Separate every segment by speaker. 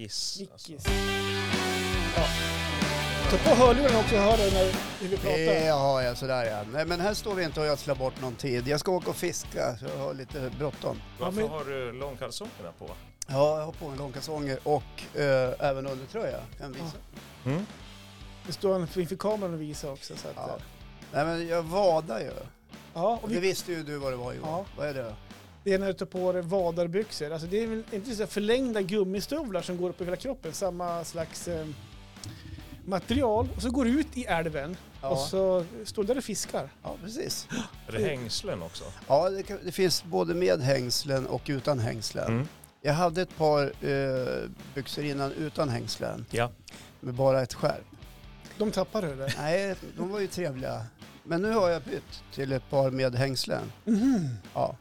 Speaker 1: Giss. Alltså.
Speaker 2: Vickis. Ja. Ta på hörlurarna också, jag hör dig när hur vi pratar.
Speaker 3: Jaha, ja, sådär ja. Nej, men här står vi inte och ödslar bort någon tid. Jag ska åka och fiska, så jag har lite bråttom.
Speaker 1: Varför
Speaker 2: men-
Speaker 1: har du långkalsongerna på?
Speaker 3: Ja, jag har på mig långkalsonger och eh, även undertröja. Kan jag visa?
Speaker 1: Mm.
Speaker 2: Nu står han inför kameran och visar också. Så att,
Speaker 3: Ja.
Speaker 2: ja.
Speaker 3: Nej, men jag vadar ju.
Speaker 2: Ja, och
Speaker 3: Det
Speaker 2: vi,
Speaker 3: visste ju du vad det var Johan.
Speaker 2: Ja.
Speaker 3: Vad är det?
Speaker 2: det är när du tar på dig vadarbyxor. Alltså det är väl inte så här förlängda gummistövlar som går upp i hela kroppen, samma slags eh, material. Och så går du ut i älven
Speaker 3: Ja,
Speaker 2: och så står du där och fiskar.
Speaker 3: ja precis.
Speaker 1: Är det hängslen också?
Speaker 3: Ja, det, kan, det finns både med hängslen och utan hängslen.
Speaker 1: Mm.
Speaker 3: Jag hade ett par eh, byxor innan utan hängslen
Speaker 1: Ja.
Speaker 3: med bara ett skärp.
Speaker 2: De tappar du eller?
Speaker 3: Nej, de var ju trevliga. Men nu har jag bytt till ett par med hängslen. Mm. Ja,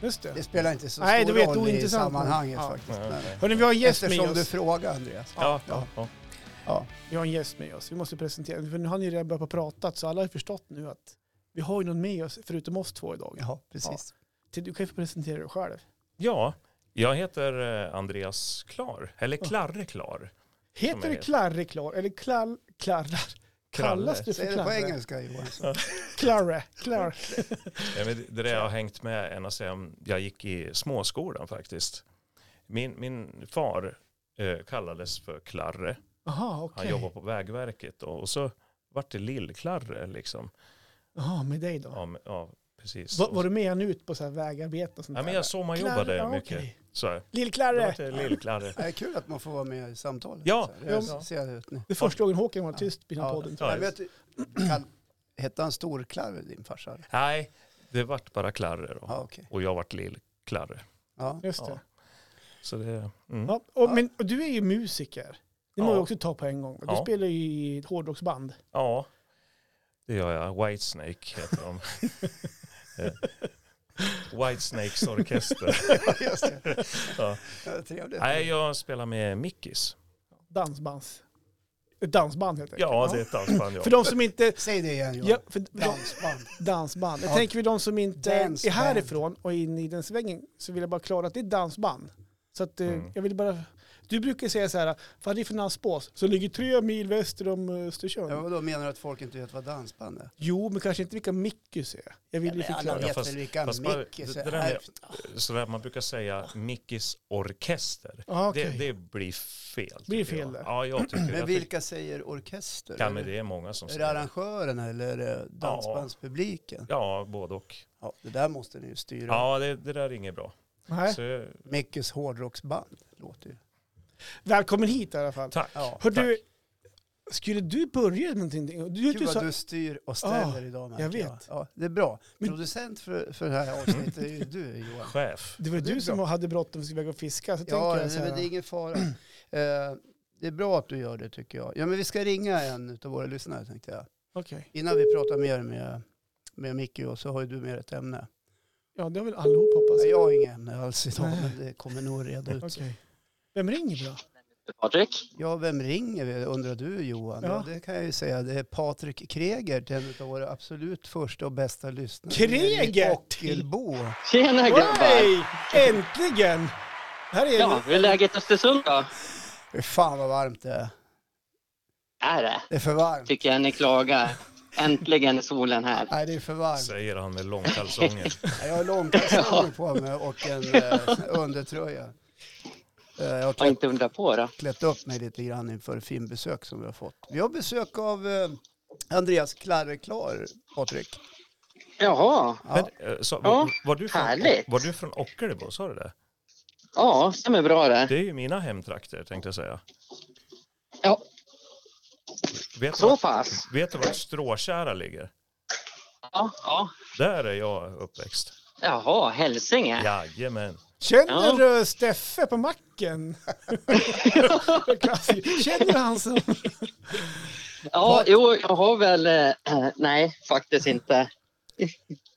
Speaker 2: Just det.
Speaker 3: det spelar inte så
Speaker 2: Nej,
Speaker 3: stor
Speaker 2: du vet,
Speaker 3: roll i
Speaker 2: ointressant, men-
Speaker 3: sammanhanget
Speaker 2: ja.
Speaker 3: faktiskt.
Speaker 1: Ja,
Speaker 3: Men,
Speaker 1: okej.
Speaker 2: Hörni, Mm. vi har en gäst med
Speaker 3: eftersom
Speaker 2: oss.
Speaker 3: du frågar Andreas.
Speaker 1: Ja.
Speaker 3: Ja.
Speaker 1: ja.
Speaker 3: Ja.
Speaker 2: Vi har en gäst med oss. Vi måste presentera. För nu har ni redan börjat prata så alla har förstått nu att vi har ju någon med oss förutom oss två idag.
Speaker 3: ja, precis.
Speaker 2: Till- Du kan ju få presentera dig själv.
Speaker 1: ja, jag heter eh, Andreas Klar, eller Klarre Klar.
Speaker 2: Heter
Speaker 1: Som
Speaker 2: det
Speaker 1: är-
Speaker 2: Klarre Klar? Eller Klall... Klarrar? Kallas du för
Speaker 3: Säg det på
Speaker 2: Klarre?
Speaker 3: engelska Mm. Johan.
Speaker 2: Klarre. Klar.
Speaker 1: Ja, men det- det där jag har hängt med ända sedan jag gick i småskolan faktiskt. Min, min far eh, kallades för Klarre.
Speaker 2: Jaha,
Speaker 1: Han
Speaker 2: okej.
Speaker 1: jobbade på Vägverket och, och så vart det Lill-Klarre liksom.
Speaker 2: Jaha, med dig då.
Speaker 1: Ja, men- ja precis.
Speaker 2: Va, var du med han ut på så här vägarbeten och sånt
Speaker 1: ja, men
Speaker 2: där?
Speaker 1: jag sommarjobbade
Speaker 2: Klarre, ja,
Speaker 1: mycket.
Speaker 2: okej.
Speaker 1: Så här. Då
Speaker 2: Lill-Klarre!
Speaker 1: vart det typ- Lill-Klarre.
Speaker 3: Det är kul att man får vara med i samtalet.
Speaker 1: Ja,
Speaker 3: Så här, det
Speaker 1: ja.
Speaker 3: ser ut nu.
Speaker 2: Det är första gången Håkan var tyst i den här
Speaker 3: Ja.
Speaker 2: podden.
Speaker 1: Ja,
Speaker 3: Jag vet, kan, hette han Storklarv din farsa?
Speaker 1: Nej, det vart bara Klarre då.
Speaker 3: Ja, okej.
Speaker 1: Och jag vart Lill-Klarre.
Speaker 3: Ja.
Speaker 2: Just det.
Speaker 1: Ja. Så det, mm.
Speaker 2: Ja. Och,
Speaker 3: Ja.
Speaker 2: men, och du är ju musiker. Det må
Speaker 1: Ja.
Speaker 2: vi också ta på en gång. Du
Speaker 1: Ja.
Speaker 2: spelar ju i ett hårdrocksband.
Speaker 1: ja, det gör jag. Whitesnake heter de. Eh, Whitesnakes orkester.
Speaker 3: Just det.
Speaker 1: Ja.
Speaker 3: Ja, Trevligt.
Speaker 1: Nej, jag spelar med Mickis.
Speaker 2: Dansbands. Ett dansband helt enkelt.
Speaker 1: Ja, det är ett dansband jag.
Speaker 2: För de som inte...
Speaker 3: Säg det igen Johan.
Speaker 2: Ja, för de,
Speaker 3: Dansband.
Speaker 2: dansband. Jag
Speaker 3: Ja.
Speaker 2: tänker för de som inte är
Speaker 3: Dansband.
Speaker 2: härifrån och in i den svängen så vill jag bara klara att det är dansband. Så att eh,
Speaker 1: Mm.
Speaker 2: jag vill bara... Du brukar säga så här, vad är det för Nansbås? Så ligger tre mil väster om eh, Östersund.
Speaker 3: Ja, vadå, menar du att folk inte vet vad dansband är?
Speaker 2: Jo, men kanske inte vilka Mickus är. Jag vill liksom ju
Speaker 3: alla
Speaker 2: förklara.
Speaker 3: vet
Speaker 1: fast-
Speaker 3: väl vilka
Speaker 1: fast bara-
Speaker 3: Mickis
Speaker 1: det- det där
Speaker 3: är?
Speaker 1: med- Så där man brukar säga Mickis orkester.
Speaker 2: Ja, okej.
Speaker 1: Det, det blir fel.
Speaker 2: Blir
Speaker 1: tycker
Speaker 2: fel
Speaker 1: jag.
Speaker 2: där.
Speaker 1: Ja, jag tycker
Speaker 3: Men
Speaker 1: jag
Speaker 3: vilka säger orkester?
Speaker 1: tycker- Ja, men det är många som
Speaker 3: Är det
Speaker 1: säger det.
Speaker 3: arrangören eller är det dansbandspubliken?
Speaker 1: Ja, både och.
Speaker 3: Ja, det där måste ni ju styra.
Speaker 1: Ja, det, det där är inget bra.
Speaker 2: Nej.
Speaker 1: Så,
Speaker 3: Mickes hårdrocksband låter ju.
Speaker 2: Välkommen hit i alla fall.
Speaker 1: tack.
Speaker 3: Ja.
Speaker 2: Hör du, skulle du börja med någonting? Du,
Speaker 3: Kul
Speaker 2: du
Speaker 3: att
Speaker 2: sa,
Speaker 3: du styr och ställer
Speaker 2: Ah,
Speaker 3: idag märker
Speaker 2: jag vet.
Speaker 3: Ja, det är bra.
Speaker 2: Men-
Speaker 3: Producent för, för det här avsnittet är ju du Johan.
Speaker 1: Chef.
Speaker 2: det var
Speaker 3: Det är
Speaker 2: du som
Speaker 3: bra.
Speaker 2: hade bråttom och skulle iväg och fiska. Så
Speaker 3: Ja,
Speaker 2: tänker jag så
Speaker 3: nej,
Speaker 2: här,
Speaker 3: men det är ingen fara. Eh, det är bra att du gör det tycker jag. Ja, men vi ska ringa en av våra lyssnare tänkte jag.
Speaker 2: okej.
Speaker 3: Innan vi pratar mer med, med Micke och så har ju du mer ett ämne.
Speaker 2: Ja, det har väl allihop hoppas
Speaker 3: Nej,
Speaker 2: jag.
Speaker 3: jag har inget ämne alls idag,
Speaker 2: Nej.
Speaker 3: men det kommer nog reda ut.
Speaker 2: Okej. Vem ringer då?
Speaker 4: Patrik?
Speaker 3: Ja, vem ringer vi undrar du Johan? Ja.
Speaker 2: Ja.
Speaker 3: det kan jag ju säga. Det är Patrik Kreger, en av våra absolut första och bästa lyssnare.
Speaker 2: Kreger!
Speaker 3: I Ockelbo.
Speaker 4: Tjena grabbar!
Speaker 2: Hej! Äntligen! Här är
Speaker 4: Ja, hur är läget i Östersund då?
Speaker 3: Fy fan vad varmt det är.
Speaker 4: Är det?
Speaker 3: Det är för varmt.
Speaker 4: Tycker jag ni klagar. Äntligen är solen här.
Speaker 3: Nej, det är för varmt.
Speaker 1: Säger han med långkalsonger.
Speaker 3: Jag har långkalsonger på mig och en eh, undertröja. Eh, jag har
Speaker 4: Ja,
Speaker 3: klätt,
Speaker 4: inte undra på då.
Speaker 3: klätt upp mig lite grann inför filmbesök som vi har fått. Vi har besök av eh, Andreas Klarre Klar, Patrik.
Speaker 4: Jaha,
Speaker 3: Ja.
Speaker 1: Men, eh, så,
Speaker 4: Ja,
Speaker 1: var, var, du från,
Speaker 4: härligt.
Speaker 1: var du från Ockelbo, sa du det?
Speaker 4: ja, stämmer bra det.
Speaker 1: Det är ju mina hemtrakter tänkte jag säga.
Speaker 4: Ja,
Speaker 1: Vet du,
Speaker 4: så
Speaker 1: vart,
Speaker 4: pass.
Speaker 1: vet du vart Stråtjära ligger?
Speaker 4: Ja, ja.
Speaker 1: Där är jag uppväxt.
Speaker 4: Jaha, Hälsinge.
Speaker 1: Jajamän.
Speaker 2: Känner du Steffe på macken? Klassiker. Känner du han som...
Speaker 4: Ja, jo, jag har väl... Eh, nej, faktiskt inte.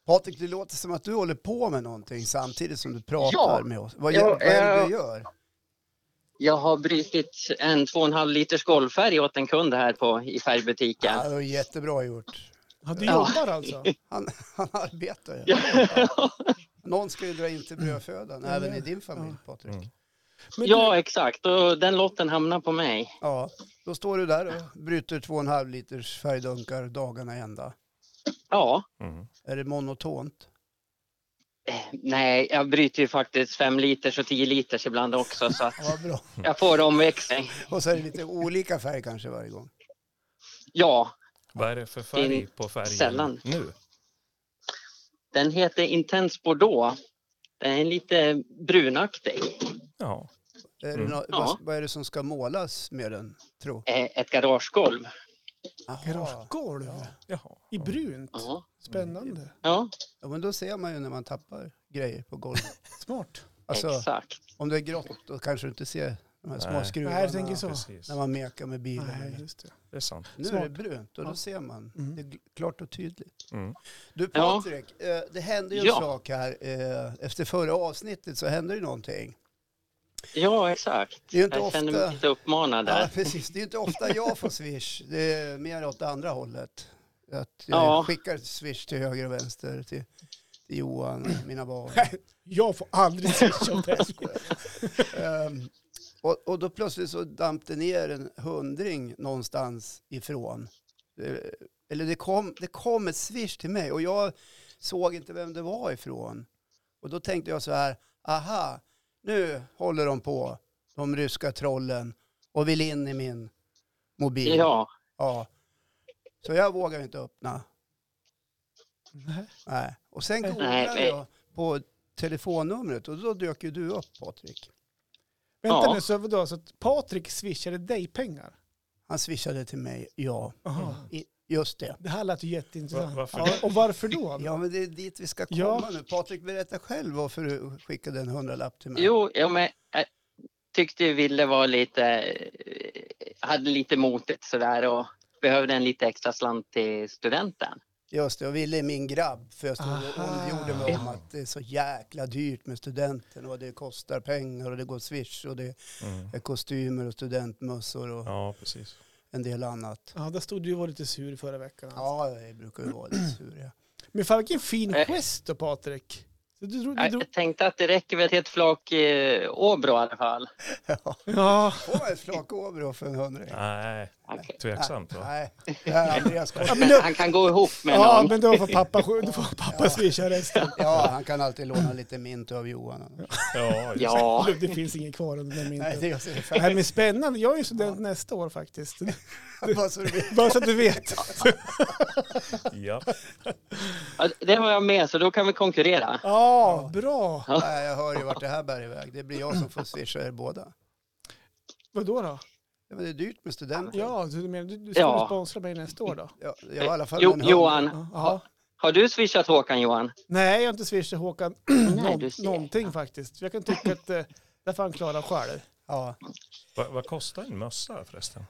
Speaker 3: Patrik, det låter som att du håller på med någonting samtidigt som du pratar
Speaker 4: Ja.
Speaker 3: med oss. Vad,
Speaker 4: Ja,
Speaker 3: gör, vad är det
Speaker 4: eh,
Speaker 3: du gör?
Speaker 4: Jag har brutit en två och en halv liters golvfärg åt en kund här på, i färgbutiken.
Speaker 3: Ja, det var jättebra gjort.
Speaker 2: Ja, du
Speaker 4: Ja.
Speaker 2: jobbar alltså?
Speaker 3: Han, han arbetar ju.
Speaker 4: Ja.
Speaker 3: Någon ska ju dra in till brödfödan, även i din familj Patrik.
Speaker 1: Mm.
Speaker 2: Men
Speaker 4: Ja, exakt. Och den lotten hamnar på mig.
Speaker 3: Ja, då står du där och bryter två och en halv liters färgdunkar dagarna ända.
Speaker 4: Ja,
Speaker 1: Mm.
Speaker 3: Är det monotont?
Speaker 4: nej, jag bryter ju faktiskt fem liters och tio liters ibland också så att
Speaker 3: Ja, vad bra.
Speaker 4: jag får omväxling.
Speaker 3: Och så är det lite olika färg kanske varje gång.
Speaker 4: Ja,
Speaker 1: Vad är det för färg
Speaker 4: In-
Speaker 1: på färgen
Speaker 4: sällan.
Speaker 1: nu?
Speaker 4: den heter Intens Bordeaux. Den är lite brunaktig.
Speaker 1: Ja.
Speaker 3: Är det
Speaker 1: Mm.
Speaker 3: nå-
Speaker 4: Ja.
Speaker 3: vad, vad är det som ska målas med den, tro?
Speaker 4: Eh, Ett garagegolv.
Speaker 3: Jaha.
Speaker 2: Garagegolv
Speaker 1: Jaha.
Speaker 2: i brunt.
Speaker 4: Ja,
Speaker 2: Spännande.
Speaker 4: ja
Speaker 3: Ja, men då ser man ju när man tappar grejer på golvet.
Speaker 2: Smart.
Speaker 3: Alltså,
Speaker 4: exakt.
Speaker 3: om det är grått då kanske du inte ser de här små
Speaker 1: Nej.
Speaker 3: skruvarna.
Speaker 2: Nej, jag tänker så.
Speaker 1: Precis,
Speaker 3: När man mekar med bilen.
Speaker 2: Nej,
Speaker 3: eller-
Speaker 2: just det.
Speaker 1: det är sant.
Speaker 3: Nu är det
Speaker 2: Smart.
Speaker 3: brunt och då
Speaker 2: Ja.
Speaker 3: ser man.
Speaker 2: Mm.
Speaker 3: Det är gl- klart och tydligt.
Speaker 1: Mm.
Speaker 3: Du
Speaker 4: Ja.
Speaker 3: Patrik, eh, det hände ju en
Speaker 4: Ja.
Speaker 3: sak här. eh, Efter förra avsnittet så hände ju någonting.
Speaker 4: Ja, exakt.
Speaker 3: Det är ju inte
Speaker 4: Jag känner mig
Speaker 3: ofta...
Speaker 4: lite uppmanad
Speaker 3: Ja,
Speaker 4: där.
Speaker 3: precis. Det är ju inte ofta jag får swish. Det är mer åt det andra hållet. Att jag
Speaker 4: Ja.
Speaker 3: skickar swish till höger och vänster till, till Johan och mina barn.
Speaker 2: Jag får aldrig swisha om det här.
Speaker 3: Ehm, och, och då plötsligt så damp det ner en hundring någonstans ifrån. Eh, Eller det kom, det kom ett swish till mig och jag såg inte vem det var ifrån. Och då tänkte jag så här, aha, nu håller de på, de ryska trollen, och vill in i min mobil.
Speaker 4: Ja,
Speaker 3: Ja. Så jag vågar ju inte öppna.
Speaker 2: Nej.
Speaker 3: Nej. Och sen googlade
Speaker 4: Nej,
Speaker 3: jag på telefonnumret och då dök ju du upp Patrik.
Speaker 2: Vänta
Speaker 4: Ja.
Speaker 2: nu, så, vadå, så att Patrik swishade dig pengar?
Speaker 3: Han swishade till mig, ja.
Speaker 2: Aha.
Speaker 3: I, just det.
Speaker 2: Det här lät ju jätteintressant.
Speaker 1: Va- varför
Speaker 2: Ja, och varför då?
Speaker 3: Ja, men det är dit vi ska komma
Speaker 2: Ja.
Speaker 3: nu. Patrik, berätta själv varför du skickade en hundralapp till mig.
Speaker 4: jo, ja, men jag tyckte ju Ville var lite, eh, hade lite motigt sådär och behövde en lite extra slant till studenten.
Speaker 3: Just det, och Ville är min grabb. För jag stod och
Speaker 2: Aha.
Speaker 3: ondgjorde mig om att det är så jäkla dyrt med studenten och det kostar pengar och det går swish och det
Speaker 1: Mm.
Speaker 3: är kostymer och studentmössor och
Speaker 1: Ja, precis.
Speaker 3: en del annat.
Speaker 2: Ja, där stod du och var lite sur förra veckan. alltså.
Speaker 3: Ja, jag brukar ju vara lite sur. Ja.
Speaker 2: Men fan vilken fin
Speaker 4: Nej.
Speaker 2: gest då Patrik. Så Du drog, du
Speaker 4: Jag
Speaker 2: drog,
Speaker 4: jag tänkte att det räcker väl till ett flak eh, Åbro i alla fall.
Speaker 3: Ja.
Speaker 2: ja.
Speaker 3: Åh, ett flak Åbro för en hundring.
Speaker 1: Nej,
Speaker 4: Okej.
Speaker 1: tveksamt va?
Speaker 3: Nej, det här är Andreas kort.
Speaker 2: Ja, men då,
Speaker 4: Han kan gå ihop med
Speaker 2: ja,
Speaker 4: någon.
Speaker 2: men då får pappa, då får pappa swisha resten.
Speaker 3: Ja, han kan alltid låna lite mint av Johan.
Speaker 1: Ja, just det.
Speaker 4: Ja,
Speaker 2: Det finns inget kvar under den
Speaker 3: Nej,
Speaker 2: mynten.
Speaker 3: det är så färdigt.
Speaker 2: Nej men spännande, jag är ju student nästa år faktiskt.
Speaker 3: Bara så det blir-
Speaker 2: Bara så att du vet.
Speaker 1: ja.
Speaker 4: Ja, det var jag med så då kan vi konkurrera.
Speaker 2: Ja, bra.
Speaker 3: Nej, jag hör ju vart det här bär iväg. Det blir jag som får swisha er båda.
Speaker 2: Vadå då?
Speaker 3: Ja, men det är dyrt med studenter.
Speaker 2: Ja, du, menar, du, du ska
Speaker 4: Ja.
Speaker 2: väl sponsra mig nästa år då?
Speaker 3: Ja, jag har i alla fall
Speaker 4: Jo,
Speaker 3: en hund.
Speaker 4: Johan,
Speaker 2: Ja.
Speaker 4: har du swishat Håkan Johan?
Speaker 2: Nej, jag har inte swishat Håkan
Speaker 4: Nej,
Speaker 2: någon,
Speaker 4: du ser.
Speaker 2: någonting faktiskt. Jag kan tycka att eh, där får han klara själv.
Speaker 3: Ja.
Speaker 1: Vad, vad kostar en mössa förresten?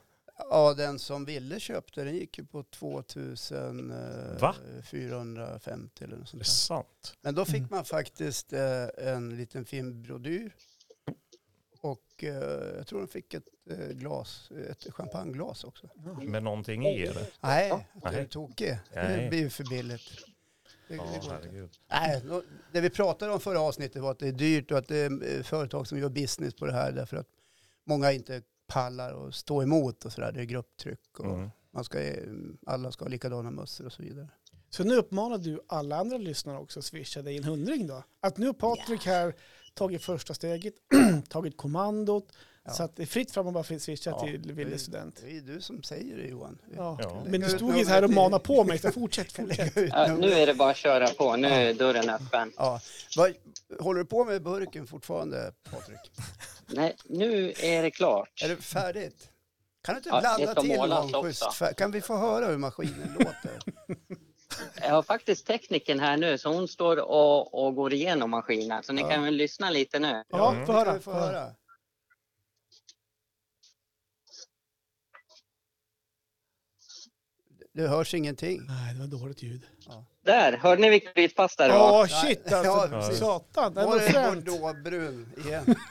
Speaker 3: ja, den som ville köpte den gick ju på 2450
Speaker 1: Va?
Speaker 3: eller
Speaker 1: Det
Speaker 3: något sånt
Speaker 1: är
Speaker 3: där.
Speaker 1: sant.
Speaker 3: Men då fick man faktiskt eh, en liten fin brodyr. Och eh, jag tror de fick ett eh, glas, ett champagneglas också.
Speaker 1: Med någonting i eller?
Speaker 3: Nej, jag är
Speaker 1: Nej.
Speaker 3: tokig. Det
Speaker 1: Nej.
Speaker 3: blir ju för billigt. Det,
Speaker 1: Ja,
Speaker 3: det går inte.
Speaker 1: herregud.
Speaker 3: Nej, då- det vi pratade om förra avsnittet var att det är dyrt och att det är eh, företag som gör business på det här därför att många inte pallar att stå emot och sådär. Det är grupptryck och
Speaker 1: Mm.
Speaker 3: man ska, eh, alla ska ha likadana mössor och så vidare.
Speaker 2: Så nu uppmanar du alla andra lyssnare också att swisha dig en hundring då? Att nu har Patrik här tagit första steget, tagit kommandot,
Speaker 3: Ja.
Speaker 2: så att det är fritt fram att bara swisha
Speaker 3: Ja,
Speaker 2: till
Speaker 3: det är-
Speaker 2: Ville student.
Speaker 3: Det är du som säger det Johan.
Speaker 2: Ja.
Speaker 1: Ja.
Speaker 2: Men du stod ju så här och manade på mig, så fortsätt, fortsätt.
Speaker 4: Ja, nu är det bara att köra på, nu är dörren öppen.
Speaker 3: Ja. Vad, håller du på med burken fortfarande Patrik?
Speaker 4: Nej, nu är det klart.
Speaker 3: Är det färdigt? Kan du inte
Speaker 4: Ja, det
Speaker 3: blanda
Speaker 4: ska
Speaker 3: till
Speaker 4: målas
Speaker 3: någon
Speaker 4: också.
Speaker 3: schysst färg? Kan vi få höra hur maskinen låter?
Speaker 4: Jag har faktiskt tekniken här nu så hon står och, och går igenom maskinen. Så ni
Speaker 3: Ja.
Speaker 4: kan väl lyssna lite nu.
Speaker 2: Ja, få
Speaker 3: Det kan
Speaker 2: höra.
Speaker 3: vi få höra. Det hörs ingenting.
Speaker 2: Nej, det var dåligt ljud.
Speaker 4: Där, hörde ni vilket vitpass det var?
Speaker 2: Ja, shit
Speaker 3: Ja,
Speaker 2: alltså.
Speaker 3: precis.
Speaker 2: Satan, det
Speaker 3: Var
Speaker 2: var
Speaker 3: det
Speaker 2: fränt.
Speaker 3: bordeauxbrun igen?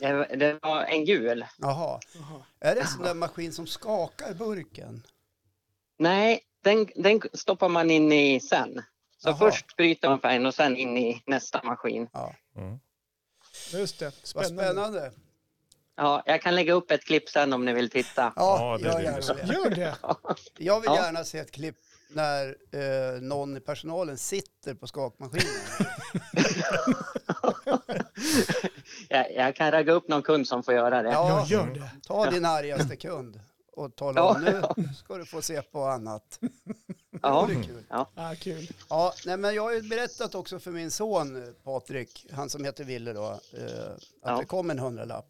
Speaker 4: Det, det var en gul.
Speaker 3: Jaha.
Speaker 2: Jaha.
Speaker 3: Är det en sån där maskin som skakar burken?
Speaker 4: Nej, den, den stoppar man in i sen. Så
Speaker 3: Jaha.
Speaker 4: först bryter man färgen och sen in i nästa maskin.
Speaker 3: Ja.
Speaker 1: Mm.
Speaker 2: Just det.
Speaker 3: Vad
Speaker 2: Spännande.
Speaker 3: spännande.
Speaker 4: Ja, jag kan lägga upp ett klipp sen om ni vill titta.
Speaker 1: Ja,
Speaker 3: Ja,
Speaker 1: det
Speaker 3: gör
Speaker 1: vill vi se.
Speaker 3: gärna det.
Speaker 2: Gör det.
Speaker 3: Jag vill
Speaker 4: Ja.
Speaker 3: gärna se ett klipp när eh, någon i personalen sitter på skakmaskinen.
Speaker 4: Jag, jag kan ragga upp någon kund som får göra det.
Speaker 2: Ja,
Speaker 3: Ja,
Speaker 2: gör det.
Speaker 3: ta din argaste kund och tala om nu ska du få se på annat.
Speaker 4: Ja.
Speaker 3: Det är kul.
Speaker 2: Ah, kul.
Speaker 3: Ja, nej, men jag har ju berättat också för min son eh, Patrik, han som heter Ville då, eh, att
Speaker 4: Ja.
Speaker 3: det kom en hundralapp.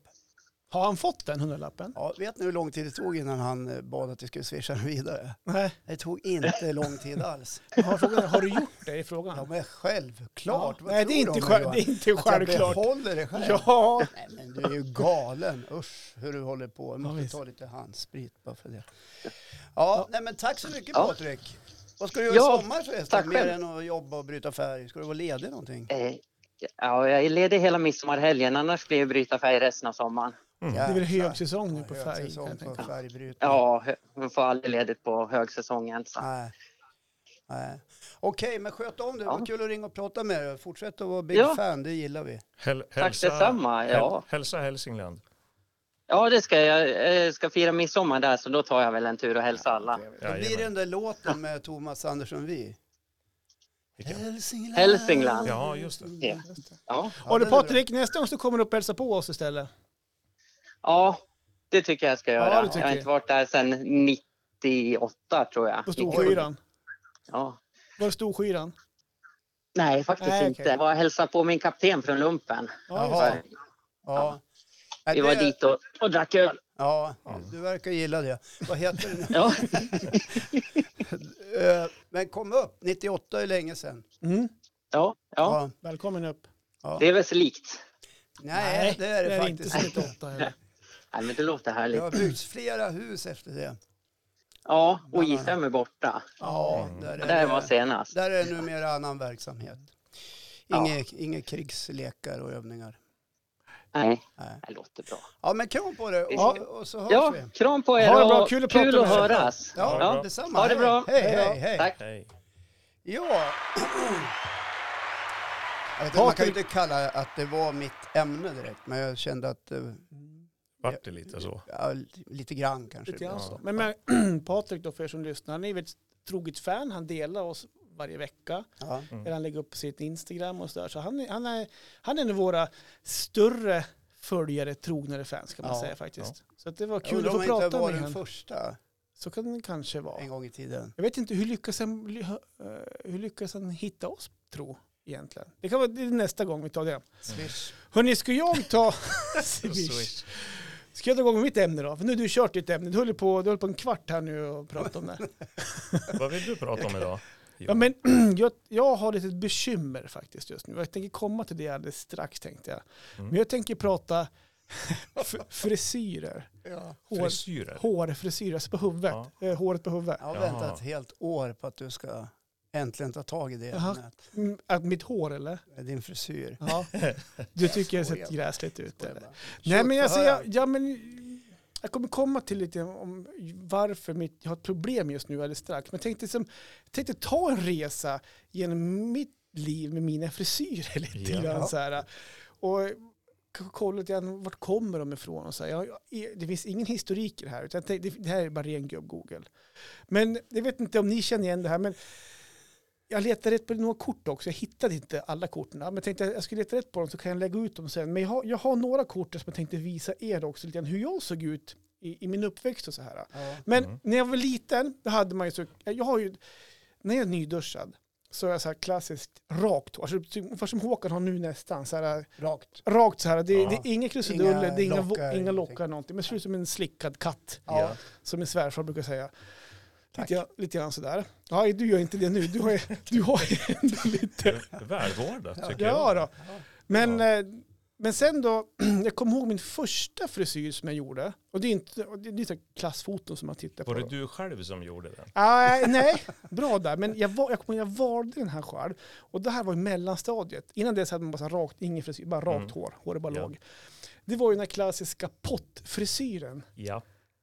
Speaker 2: Har han fått den hundralappen?
Speaker 3: Ja, vet ni hur lång tid det tog innan han eh, bad att vi skulle swisha den vidare?
Speaker 2: Nej.
Speaker 3: Det tog inte lång tid alls.
Speaker 2: Har, frågan, har du gjort det i frågan?
Speaker 3: Ja, men självklart.
Speaker 2: Ja.
Speaker 3: Vad
Speaker 2: Nej, det är,
Speaker 3: tror
Speaker 2: inte
Speaker 3: de,
Speaker 2: själv,
Speaker 3: Johan?
Speaker 2: det är inte
Speaker 3: Att jag
Speaker 2: självklart.
Speaker 3: behåller det själv.
Speaker 2: Ja.
Speaker 3: Nej, men du är ju galen. Usch, hur du håller på. Jag
Speaker 2: Ja,
Speaker 3: måste
Speaker 2: visst.
Speaker 3: ta lite handsprit bara för det. Ja, nej men tack så mycket
Speaker 4: Ja.
Speaker 3: Patrik. Vad ska du göra
Speaker 4: Ja,
Speaker 3: i sommar förresten?
Speaker 4: tack
Speaker 3: Mer
Speaker 4: själv.
Speaker 3: än att jobba och bryta färg. Ska du vara ledig någonting?
Speaker 4: Eh, Ja, jag är ledig hela midsommarhelgen, annars blir jag bryta färg resten av sommaren.
Speaker 2: Det är väl
Speaker 3: Jäklar.
Speaker 2: högsäsong nu på
Speaker 3: Ja,
Speaker 2: färg. kan
Speaker 3: högsäsong
Speaker 2: jag
Speaker 3: på
Speaker 2: tänka.
Speaker 3: färgbrytning.
Speaker 4: Ja, hö- jag får aldrig ledigt på högsäsongen. Så.
Speaker 3: Nej. Nej. Okej, men sköt om dig. Det var
Speaker 4: Ja.
Speaker 3: kul att ringa och prata med dig. Fortsätt att vara big
Speaker 4: Ja.
Speaker 3: fan, det gillar vi.
Speaker 1: Häl,
Speaker 4: Tack
Speaker 1: hälsa-
Speaker 4: detsamma, ja.
Speaker 1: häl- Hälsa Hälsingland.
Speaker 4: Ja, det ska jag. Jag eh, ska fira midsommar där, så då tar jag väl en tur och hälsar alla.
Speaker 3: Då blir det
Speaker 1: Jajamän.
Speaker 3: den där låten med Thomas Andersson Vi.
Speaker 1: Vilken?
Speaker 3: Hälsingland.
Speaker 4: Hälsingland.
Speaker 1: Ja, just det.
Speaker 4: Ja. Ja.
Speaker 3: Ja,
Speaker 2: Och du
Speaker 3: den är bra.
Speaker 2: Patrik, nästa gång så kommer du upp och hälsa på oss istället.
Speaker 4: ja, det tycker jag ska göra.
Speaker 2: det tycker
Speaker 4: jag har
Speaker 2: jag.
Speaker 4: inte varit där sedan 98, tror jag.
Speaker 2: På
Speaker 4: Gick-
Speaker 2: Storskyran.
Speaker 4: Ja.
Speaker 2: Var det Storskyran?
Speaker 4: Nej, faktiskt
Speaker 2: Nej,
Speaker 4: inte.
Speaker 2: okej.
Speaker 4: Jag var och hälsade på min kapten från lumpen.
Speaker 2: Ja, just
Speaker 3: Jaha.
Speaker 2: det.
Speaker 3: Ja. Nej,
Speaker 4: Vi var
Speaker 3: det-
Speaker 4: dit och, och drack öl.
Speaker 3: Ja, du verkar gilla det. Vad heter det nu?
Speaker 4: Ja.
Speaker 3: Eh, Men kom upp, 98 är länge sedan.
Speaker 2: Mm.
Speaker 4: Ja, ja,
Speaker 3: Ja.
Speaker 2: Välkommen upp.
Speaker 4: det är väl så likt.
Speaker 3: Nej, det är det, faktiskt
Speaker 2: inte.
Speaker 3: inte.
Speaker 2: 78 heller.
Speaker 4: Nej, men det låter
Speaker 3: Det
Speaker 4: härligt.
Speaker 3: har byggts flera hus efter det.
Speaker 4: Ja, och J5 är borta.
Speaker 3: Ja,
Speaker 2: Mm.
Speaker 3: där är
Speaker 4: Där var
Speaker 3: det,
Speaker 4: senast.
Speaker 3: där är det numera annan verksamhet.
Speaker 4: Ja.
Speaker 3: Inga, inga krigslekar och övningar.
Speaker 4: Nej,
Speaker 3: Nej.
Speaker 4: det låter bra.
Speaker 3: Ja, men kram på dig och,
Speaker 4: Ja.
Speaker 3: och så hörs
Speaker 4: Ja,
Speaker 3: vi.
Speaker 4: kram på er
Speaker 2: Ha det bra,
Speaker 4: och
Speaker 2: kul att
Speaker 4: kul
Speaker 2: prata
Speaker 4: att
Speaker 2: med er.
Speaker 4: höras.
Speaker 3: Ja,
Speaker 1: Ha det bra.
Speaker 3: detsamma.
Speaker 4: Ha det bra.
Speaker 3: Hej,
Speaker 2: Hej då.
Speaker 3: hej, hej.
Speaker 4: Tack.
Speaker 1: Hej.
Speaker 3: Ja. Jag vet, inte, man kan ju
Speaker 2: Patrik-
Speaker 3: inte kalla att det var mitt ämne direkt, men jag kände att eh,
Speaker 1: Vart det lite så?
Speaker 3: Ja, lite grann kanske.
Speaker 2: Lite grann
Speaker 3: ibland.
Speaker 2: så. Men, men Patrik då, för er som lyssnar, han är väl ett troget fan. Han delar oss varje vecka.
Speaker 1: Mm.
Speaker 3: Ja.
Speaker 2: Eller han lägger upp sitt Instagram och sådär. Så han är, han, är, han är en av våra större följare, trognare fans kan man
Speaker 3: Ja,
Speaker 2: säga faktiskt. Så att det var
Speaker 3: Jag
Speaker 2: kul
Speaker 3: undrar
Speaker 2: att
Speaker 3: om
Speaker 2: få
Speaker 3: jag inte
Speaker 2: prata
Speaker 3: var
Speaker 2: med
Speaker 3: den
Speaker 2: honom.
Speaker 3: första
Speaker 2: Så kan det kanske vara.
Speaker 3: en gång i tiden.
Speaker 2: Jag vet inte, hur lyckas han, bli- eh, hur lyckas han hitta oss tro egentligen? Det kan vara det är nästa gång vi tar det.
Speaker 3: Swish.
Speaker 2: Hörni, ska jag ta...
Speaker 1: Swish.
Speaker 2: ska jag dra igång med mitt ämne då? För nu har du kört ditt ämne. Du höll på, du höll på en kvart här nu och pratade om det.
Speaker 1: Vad vill du prata om idag?
Speaker 2: Ja, men jag, jag har lite bekymmer faktiskt just nu. Jag tänker komma till det alldeles strax tänkte jag. Men jag tänker prata f- frisyrer.
Speaker 3: Ja.
Speaker 2: Hår,
Speaker 1: Frisyrer?
Speaker 2: hårfrisyrer, alltså på huvudet. Eh, håret på huvudet.
Speaker 3: Jag har
Speaker 1: Jaha.
Speaker 3: väntat ett helt år på att du ska äntligen ta tag i det
Speaker 2: Jaha.
Speaker 3: ämnet.
Speaker 2: Mm, att mitt hår eller?
Speaker 3: Med din frisyr.
Speaker 2: Ja. Du tycker jag har sett
Speaker 3: skojar.
Speaker 2: gräsligt ut eller? Nej
Speaker 3: Shoot,
Speaker 2: men alltså,
Speaker 3: vad hör
Speaker 2: jag, ja, men, jag kommer komma till lite om varför mitt, jag har ett problem just nu alldeles strax. Men jag tänkte, som, jag tänkte ta en resa genom mitt liv med mina frisyrer lite
Speaker 1: Ja.
Speaker 2: grann så här. Och k- kolla lite grann, vart kommer de ifrån och så här. Jag, jag, det finns ingen historik i det här, utan jag tänkte, det här är bara ren gubb-google. Men jag vet inte om ni känner igen det här, men jag letade rätt på några kort också. Jag hittade inte alla korten. Men jag tänkte att jag skulle leta rätt på dem så kan jag lägga ut dem sen. Men jag har, jag har några kort som jag tänkte visa er också lite grann hur jag såg ut i, i min uppväxt och så här.
Speaker 3: Ja.
Speaker 2: Men när jag var liten, då hade man ju så, jag har ju, när jag är nyduschad så är jag så här klassiskt rakt hår, alltså, typ ungefär som Håkan har nu nästan. Så här,
Speaker 3: Rakt.
Speaker 2: rakt så här, det,
Speaker 1: Ja.
Speaker 2: det är inga krusiduller,
Speaker 3: Inga
Speaker 2: det är inga
Speaker 3: lockar,
Speaker 2: lockar, inga lockar
Speaker 3: ingenting.
Speaker 2: någonting. Men det ser ut som en slickad katt,
Speaker 3: Ja.
Speaker 1: Ja.
Speaker 2: som min svärfar brukar säga.
Speaker 3: Tack.
Speaker 2: Lite, lite grann sådär. Ja, du gör inte det nu, du har, ju- du har ju ändå lite...
Speaker 1: Välvårdat tycker
Speaker 2: Ja
Speaker 1: jag.
Speaker 2: då. Men, eh, men sen då, jag kommer ihåg min första frisyr som jag gjorde. Och det är inte och det är inte klassfoton som man tittar på.
Speaker 1: Var det
Speaker 2: då.
Speaker 1: du själv som gjorde den?
Speaker 2: Ah, nej, bra där. Men jag, var, jag, kommer ihåg, jag valde den här själv. Och det här var i mellanstadiet. Innan dess hade man bara så här rakt, ingen frisyr, bara rakt hår. Håret bara
Speaker 1: Mm. Ja.
Speaker 2: låg. Det var ju den här klassiska pottfrisyren.
Speaker 1: Ja,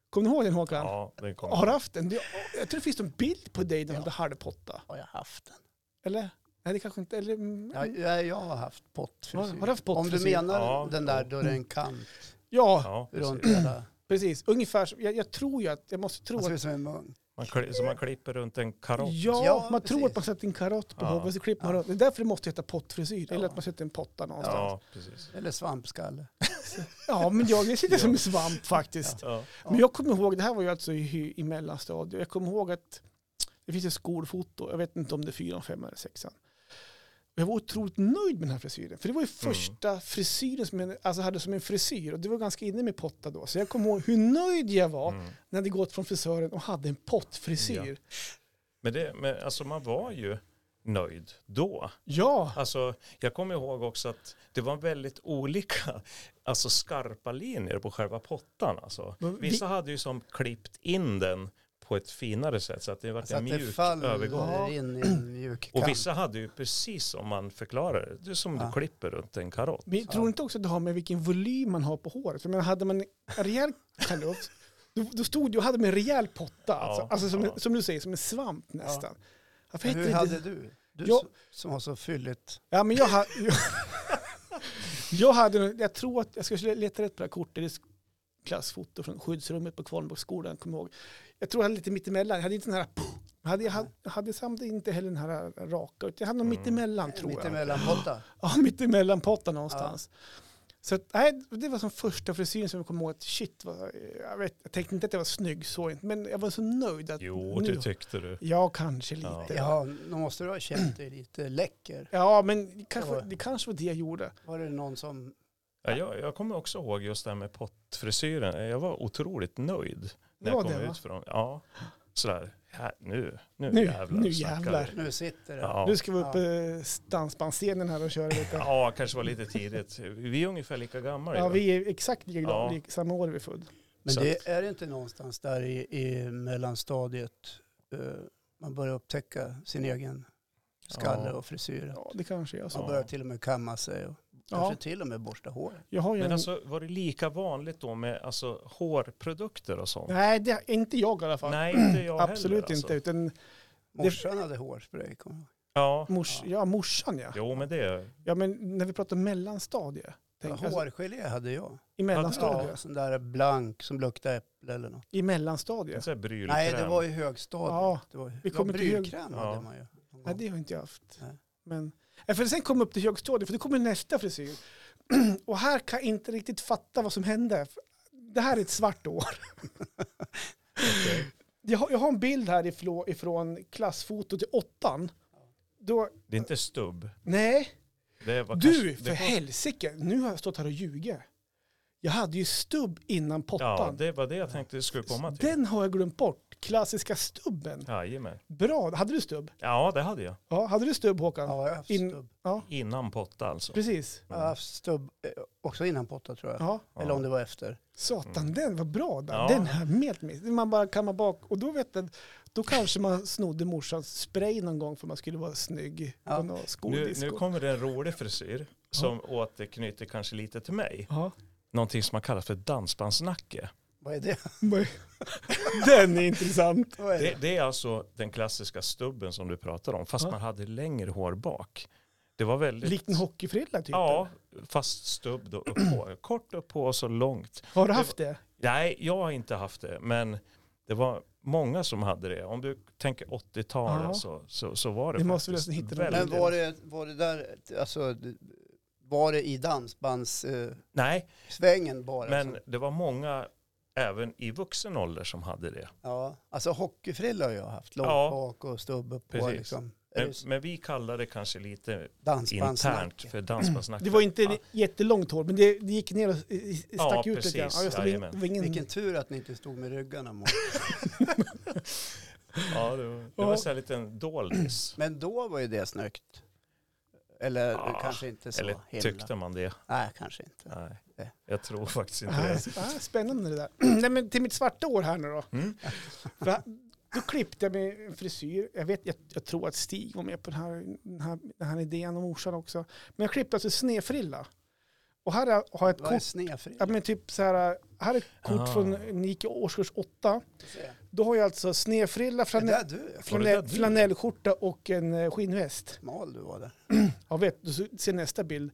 Speaker 2: Kommer du ihåg den Håkan?
Speaker 1: ja den kom.
Speaker 2: Har du haft den? Det- Jag tror det finns en bild på dig när du hade halvpotta.
Speaker 3: Har jag haft den?
Speaker 2: Eller? Nej, det kanske inte... Eller, mm,
Speaker 3: Ja, ja, jag har haft
Speaker 2: har,
Speaker 3: pottfrisyr.
Speaker 2: har du haft
Speaker 3: Om du
Speaker 2: pottfrisyr?
Speaker 3: menar
Speaker 1: Ja.
Speaker 3: den där då det är en kant
Speaker 2: Ja,
Speaker 1: Ja,
Speaker 3: runt
Speaker 1: precis.
Speaker 3: hela.
Speaker 2: precis. Ungefär. som- Jag, jag tror ju att... Jag måste tro
Speaker 3: Han ser
Speaker 1: Alltså,
Speaker 2: att...
Speaker 3: ut som en munk.
Speaker 1: Man kli, så man klipper runt en karott.
Speaker 2: Ja,
Speaker 3: Ja,
Speaker 2: man tror
Speaker 3: precis.
Speaker 2: att man sätter en karott på
Speaker 1: Ja.
Speaker 2: huvudet så klipper man runt. Det är därför det måste heta pottfrisyr. Eller
Speaker 3: Ja.
Speaker 2: att man sätter en potta någonstans.
Speaker 1: Ja,
Speaker 2: Ja,
Speaker 1: precis.
Speaker 3: Eller svampskalle.
Speaker 2: men jag det sitter som en svamp faktiskt.
Speaker 1: Ja.
Speaker 3: Ja.
Speaker 2: Men jag kommer ihåg, det här var ju alltså i, i mellanstadiet, jag kommer ihåg att det finns ett skolfoto, jag vet inte om det är fyran, femman eller sexan. Och Jag var otroligt nöjd med den här frisyren, för det var ju första frisyren som jag alltså, hade som en frisyr och det var ganska inne med potta då. Så jag kommer ihåg hur nöjd jag var
Speaker 1: Mm.
Speaker 2: när det gått från frisören och hade en pottfrisyr.
Speaker 1: Men, det, men alltså man var ju nöjd då.
Speaker 2: Ja,
Speaker 1: Alltså, jag kommer ihåg också att det var väldigt olika alltså skarpa linjer på själva pottan. Alltså.
Speaker 2: Men vi-
Speaker 1: Vissa hade ju som klippt in den på ett finare sätt så att det var
Speaker 3: Så
Speaker 1: en
Speaker 3: Alltså, att det
Speaker 1: mjuk
Speaker 3: faller
Speaker 1: övergång.
Speaker 3: in i en mjuk kant.
Speaker 1: Och vissa hade ju precis som man förklarar det, det är som
Speaker 3: Ja.
Speaker 1: du klipper runt en karott.
Speaker 2: men jag tror
Speaker 3: Ja.
Speaker 2: inte också att det har med vilken volym man har på håret? För jag menar, hade man en rejäl kalufs, då, då stod du och hade med en rejäl potta, alltså, alltså som,
Speaker 1: ja.
Speaker 2: som du säger, som en svamp nästan. Varför
Speaker 3: Men
Speaker 2: heter
Speaker 3: Hur
Speaker 2: det-
Speaker 3: hade du? Du
Speaker 2: Jag-
Speaker 3: som- som har så fylligt.
Speaker 2: Ja, men jag, ha, jag, jag hade, nog- jag tror att, jag ska leta rätt på det här kortet, det är klassfoto från skyddsrummet på Kvarnbocksskolan, kommer jag ihåg. Jag tror jag hade lite mittemellan, jag hade inte den här, jag hade, jag hade, jag hade samt inte heller den här raka, utan jag hade någon
Speaker 1: Mm.
Speaker 2: mittemellan tror jag.
Speaker 3: Mittemellan potta.
Speaker 2: Ja, mittemellan potta någonstans. Så att, nej, det var som första frisyren som jag kom ihåg att shit, vad, jag, vet, jag tänkte inte att jag var snygg så, inte, men jag var så nöjd att
Speaker 1: Jo,
Speaker 2: nu,
Speaker 1: det tyckte du.
Speaker 2: Ja, kanske lite.
Speaker 1: Ja.
Speaker 3: Ja, då måste du ha känt dig lite läcker.
Speaker 2: Ja, men det kanske,
Speaker 3: Ja.
Speaker 2: det kanske var det jag gjorde.
Speaker 3: Var det någon som...
Speaker 1: Ja, jag, jag kommer också ihåg just det här med pottfrisyren. Jag var otroligt nöjd
Speaker 2: Det
Speaker 1: när jag
Speaker 2: var
Speaker 1: kom
Speaker 2: det, va?
Speaker 1: ut från Ja, sådär. Här, nu, nu,
Speaker 2: Nu-
Speaker 1: jävlar.
Speaker 2: nu
Speaker 1: snackar vi.
Speaker 2: jävlar.
Speaker 3: Nu sitter det.
Speaker 1: Ja.
Speaker 2: Nu ska vi upp ja. dansbandsscenen här och köra lite. Ja,
Speaker 1: Ja, kanske var lite tidigt. Vi är ungefär lika gamla. ju.
Speaker 2: vi är exakt lika
Speaker 1: Ja.
Speaker 2: lik- samma år vi är född.
Speaker 3: Men
Speaker 1: Så
Speaker 3: det är det inte någonstans där i, i mellanstadiet eh, man börjar upptäcka sin egen skalle
Speaker 1: Ja.
Speaker 3: och frisyr.
Speaker 2: Ja, det kanske är så.
Speaker 3: Man
Speaker 1: Ja.
Speaker 3: börjar till och med kamma sig och
Speaker 2: Ja.
Speaker 3: kanske till och med borsta hår.
Speaker 2: Jag har ju
Speaker 1: Men
Speaker 2: en...
Speaker 1: alltså, var det lika vanligt då med alltså, hårprodukter och sånt?
Speaker 2: Nej, det är inte jag i alla fall.
Speaker 1: Nej, inte jag
Speaker 2: Absolut
Speaker 1: heller, Alltså.
Speaker 2: inte. Utan
Speaker 3: Morsan hade hårspray. kommer jag ihåg.
Speaker 1: Ja,
Speaker 2: mors... ja. morsan ja.
Speaker 1: jo men det.
Speaker 2: Ja, men när vi pratar mellanstadie. Tänk, alltså,
Speaker 3: Hårgelé hade jag.
Speaker 2: I mellanstadie.
Speaker 3: Ja, sån där blank som luktade äpple eller något.
Speaker 2: I mellanstadie.
Speaker 1: En sån här brylkräm.
Speaker 3: Nej, det var ju högstadiet.
Speaker 2: Ja,
Speaker 3: det var,
Speaker 2: vi
Speaker 3: ja,
Speaker 2: kommer till hög-
Speaker 3: brylkräm
Speaker 1: Ja.
Speaker 3: hade man ju. någon
Speaker 2: Nej,
Speaker 3: gång.
Speaker 2: det har inte jag haft.
Speaker 3: Nej.
Speaker 2: Men... Ja, För sen kom jag upp till högstadiet, för då kommer nästa frisyr. Och här kan jag inte riktigt fatta vad som hände. Det här är ett svart år.
Speaker 1: Okej.
Speaker 2: Jag har, jag har en bild här ifrån, ifrån klassfotot i åttan. Då,
Speaker 1: Det är inte stubb.
Speaker 2: nej,
Speaker 1: Det var
Speaker 2: du
Speaker 1: kanske,
Speaker 2: för helsike, nu har jag stått här och ljugit. Jag hade ju stubb innan
Speaker 1: Ja,
Speaker 2: pottan.
Speaker 1: det var det jag tänkte det skulle komma till.
Speaker 2: Den har jag glömt bort, klassiska stubben.
Speaker 1: Jajamän.
Speaker 2: Bra, hade du stubb?
Speaker 1: Ja, det hade jag.
Speaker 2: Ja, hade du stubb Håkan?
Speaker 3: Ja, jag har haft
Speaker 2: In-
Speaker 3: stubb.
Speaker 2: Ja,
Speaker 1: Innan potta alltså.
Speaker 2: precis.
Speaker 3: Jag har haft stubb eh, också innan potta tror jag.
Speaker 2: Ja.
Speaker 1: Ja.
Speaker 3: Eller om det var efter.
Speaker 2: Satan, den var bra. Där.
Speaker 1: Mm. Ja.
Speaker 2: Den här helt miss. Man bara kammar bak. Och då vet jag, då kanske man snodde morsans spray någon gång för man skulle vara snygg på
Speaker 3: Ja.
Speaker 2: någon
Speaker 1: Nu,
Speaker 2: skoldisco.
Speaker 1: nu kommer det en rolig frisyr som återknyter kanske lite till mig.
Speaker 2: Ja.
Speaker 1: Någonting som man kallar för dansbandsnacke.
Speaker 3: Vad är det?
Speaker 2: Den är intressant.
Speaker 3: Vad är det?
Speaker 1: Det, det är alltså den klassiska stubben som du pratar om, fast
Speaker 2: Ja.
Speaker 1: man hade längre hår bak. Det var väldigt...
Speaker 2: Likt en hockeyfrilla typ.
Speaker 1: Ja, fast stubb då upp på. Kort upp på och så långt.
Speaker 2: Har du haft det?
Speaker 1: Nej, jag har inte haft det, men det var många som hade det. Om du tänker 80-tal
Speaker 2: Ja.
Speaker 1: så, så, så var det
Speaker 2: Vi måste
Speaker 1: faktiskt
Speaker 2: väl hitta någon-
Speaker 1: väldigt-
Speaker 3: Men var det, var det där, alltså, det- var det i dansbandssvängen
Speaker 1: Nej,
Speaker 3: bara?
Speaker 1: men
Speaker 3: Alltså?
Speaker 1: det var många även i vuxen ålder som hade det.
Speaker 3: Ja, alltså hockeyfrilla har jag haft, långt
Speaker 1: Ja.
Speaker 3: bak och stubb upp på
Speaker 1: Precis.
Speaker 3: liksom.
Speaker 1: Men, men vi kallar det kanske lite internt
Speaker 3: Dansbandsnack.
Speaker 1: för dansbandsnack.
Speaker 2: Det var inte
Speaker 1: Ja.
Speaker 2: jättelångt hår, men det, det gick ner och i- i- stack
Speaker 1: Ja,
Speaker 2: ut
Speaker 1: precis.
Speaker 2: lite grann. Ja, just det, det var
Speaker 1: Jajamän.
Speaker 2: ingen-
Speaker 3: Vilken tur att ni inte stod med ryggarna mot.
Speaker 1: Ja, det var, det var så här en liten doldis.
Speaker 3: Men då var ju det snyggt. Eller
Speaker 1: Ja,
Speaker 3: kanske inte så
Speaker 1: Eller
Speaker 3: himla.
Speaker 1: tyckte man det?
Speaker 3: Nej, kanske inte.
Speaker 1: Nej,
Speaker 3: Nej.
Speaker 1: jag tror faktiskt inte
Speaker 2: Ah,
Speaker 1: det.
Speaker 2: s- ah, spännande det där. Nej, men till mitt svarta år här nu då.
Speaker 1: Mm.
Speaker 2: För att- då klippte jag mig en frisyr. Jag, vet, jag, jag tror att Stig var med på den här, den här, den här idén och morsan också. Men jag klippte alltså snedfrilla. Och här har jag ett
Speaker 3: Vad är
Speaker 2: kort.
Speaker 3: snedfrilla?
Speaker 2: Ja, men typ så här, här är ett kort
Speaker 1: Ah.
Speaker 2: från Nike årskurs 8. Då har jag alltså snedfrilla,
Speaker 3: Är det
Speaker 2: flanell,
Speaker 3: där du?
Speaker 1: Var det
Speaker 2: flanell,
Speaker 1: där du?
Speaker 2: flanellskjorta och en eh, skinnväst.
Speaker 3: Mal du var där.
Speaker 2: Ja, vet du, så ser nästa bild.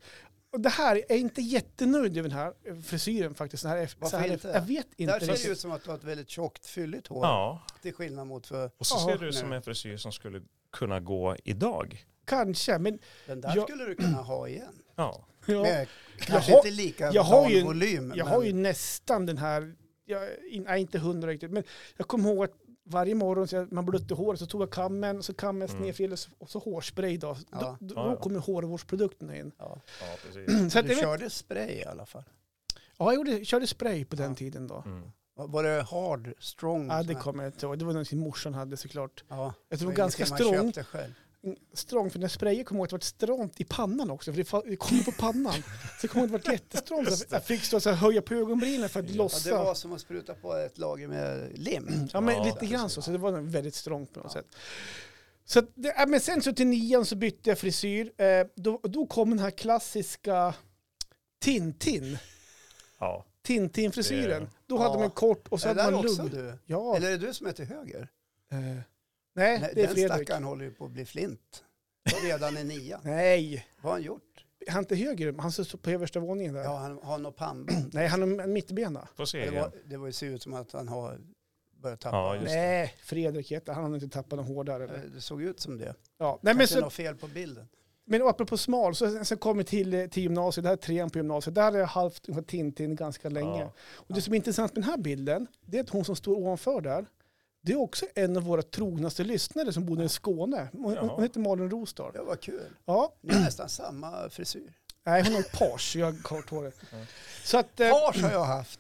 Speaker 2: Och det här, jag är inte jättenöjd över den här frisyren faktiskt. Så här,
Speaker 3: Varför
Speaker 2: så här,
Speaker 3: inte?
Speaker 2: Jag vet inte.
Speaker 3: Där ser det
Speaker 2: riktigt.
Speaker 3: ut som att du har ett väldigt tjockt, fylligt hår.
Speaker 1: Ja,
Speaker 3: Till skillnad mot för
Speaker 1: och så
Speaker 2: Ja,
Speaker 1: ser du ut
Speaker 3: nu.
Speaker 1: som en frisyr som skulle kunna gå idag.
Speaker 2: Kanske, men
Speaker 3: den där
Speaker 2: Jag-
Speaker 3: skulle du kunna ha igen.
Speaker 1: Ja,
Speaker 2: ja,
Speaker 3: Med, kanske
Speaker 2: har-
Speaker 3: inte lika
Speaker 2: jag har
Speaker 3: plan
Speaker 2: ju en-
Speaker 3: volym.
Speaker 2: jag
Speaker 3: men
Speaker 2: har ju nästan den här, jag in- nej, inte hundra riktigt, men jag kommer ihåg att varje morgon så jag, man blötte håret så tog jag kammen, så kammen
Speaker 1: Mm.
Speaker 2: snedfil och så- och så hårspray då.
Speaker 3: Ja.
Speaker 2: Då, då,
Speaker 1: Ja, ja.
Speaker 2: kommer hårvårdsprodukterna in.
Speaker 3: ja.
Speaker 1: ja precis.
Speaker 2: Så att
Speaker 3: Du
Speaker 2: jag vet,
Speaker 3: körde spray i alla fall.
Speaker 2: ja, jag gjorde, körde spray på den
Speaker 3: Ja.
Speaker 2: tiden då.
Speaker 1: Mm.
Speaker 3: Var- Var det hard, strong?
Speaker 2: Ja, det
Speaker 3: sån här?
Speaker 2: kommer jag inte ihåg. Det var någonting morsan hade såklart.
Speaker 3: Ja.
Speaker 2: Jag
Speaker 3: det
Speaker 2: tror
Speaker 3: var
Speaker 2: ganska
Speaker 3: ingenting man
Speaker 2: strong.
Speaker 3: köpte själv.
Speaker 2: strong, för när sprayen kom åt det var stramt i pannan också, för det fa- det kom på pannan. Så kom det vart jättestramt. Så jag fick stå och så här, höja på ögonbrynen för att
Speaker 1: Ja,
Speaker 3: Ja,
Speaker 2: lossa.
Speaker 3: det var som att spruta på ett lager med lim.
Speaker 2: Ja, men
Speaker 1: Ja,
Speaker 2: lite grann
Speaker 1: precis.
Speaker 2: så. Så det var nog väldigt strongt på något
Speaker 3: Ja.
Speaker 2: sätt. Så att det, ja, men sen så till nian så bytte jag frisyr. Eh, då, då kom den här klassiska Tintin.
Speaker 1: Ja,
Speaker 2: Tintin-frisyren.
Speaker 1: Det-
Speaker 2: Då hade
Speaker 3: Ja.
Speaker 2: man kort och så
Speaker 3: är det
Speaker 2: hade
Speaker 3: där
Speaker 2: man
Speaker 3: också
Speaker 2: lugg.
Speaker 3: du?
Speaker 2: Ja.
Speaker 3: Eller är det du som är till höger?
Speaker 2: Eh, nej,
Speaker 3: Nej,
Speaker 2: det är
Speaker 3: den
Speaker 2: Fredrik.
Speaker 3: stackaren håller ju på att bli flint. Redan i nian.
Speaker 2: Nej,
Speaker 3: Vad har han gjort?
Speaker 2: han är inte höger. Han står på översta våningen där.
Speaker 3: Ja, han har något pannband.
Speaker 2: Nej, han har en mittbena.
Speaker 1: får se
Speaker 3: Det,
Speaker 1: igen.
Speaker 3: var, det var ju ser ut som att han har börjat tappa.
Speaker 1: Ja, just
Speaker 2: Nej, Fredrik heter han. Han har inte tappat någon hårdare. Eller?
Speaker 3: Eh, Det såg ut som det.
Speaker 2: Ja, nej, men,
Speaker 3: Kanske
Speaker 2: så,
Speaker 3: något fel på bilden.
Speaker 2: men apropå smal, så, sen kom vi till, till gymnasiet, det här är trean på gymnasiet, där har jag haft ungefär Tintin ganska länge.
Speaker 1: Ja.
Speaker 2: Och det som är intressant med den här bilden, det är att hon som står ovanför där, det är också en av våra trognaste lyssnare som bodde i Skåne. Hon, hon
Speaker 1: Jaha.
Speaker 2: hon heter Malin Rosdahl.
Speaker 3: Det var kul.
Speaker 2: Ja,
Speaker 3: Ni har nästan samma frisyr.
Speaker 2: nej hon har en page, jag har kort hår. Så att, eh,
Speaker 3: Pars har jag haft.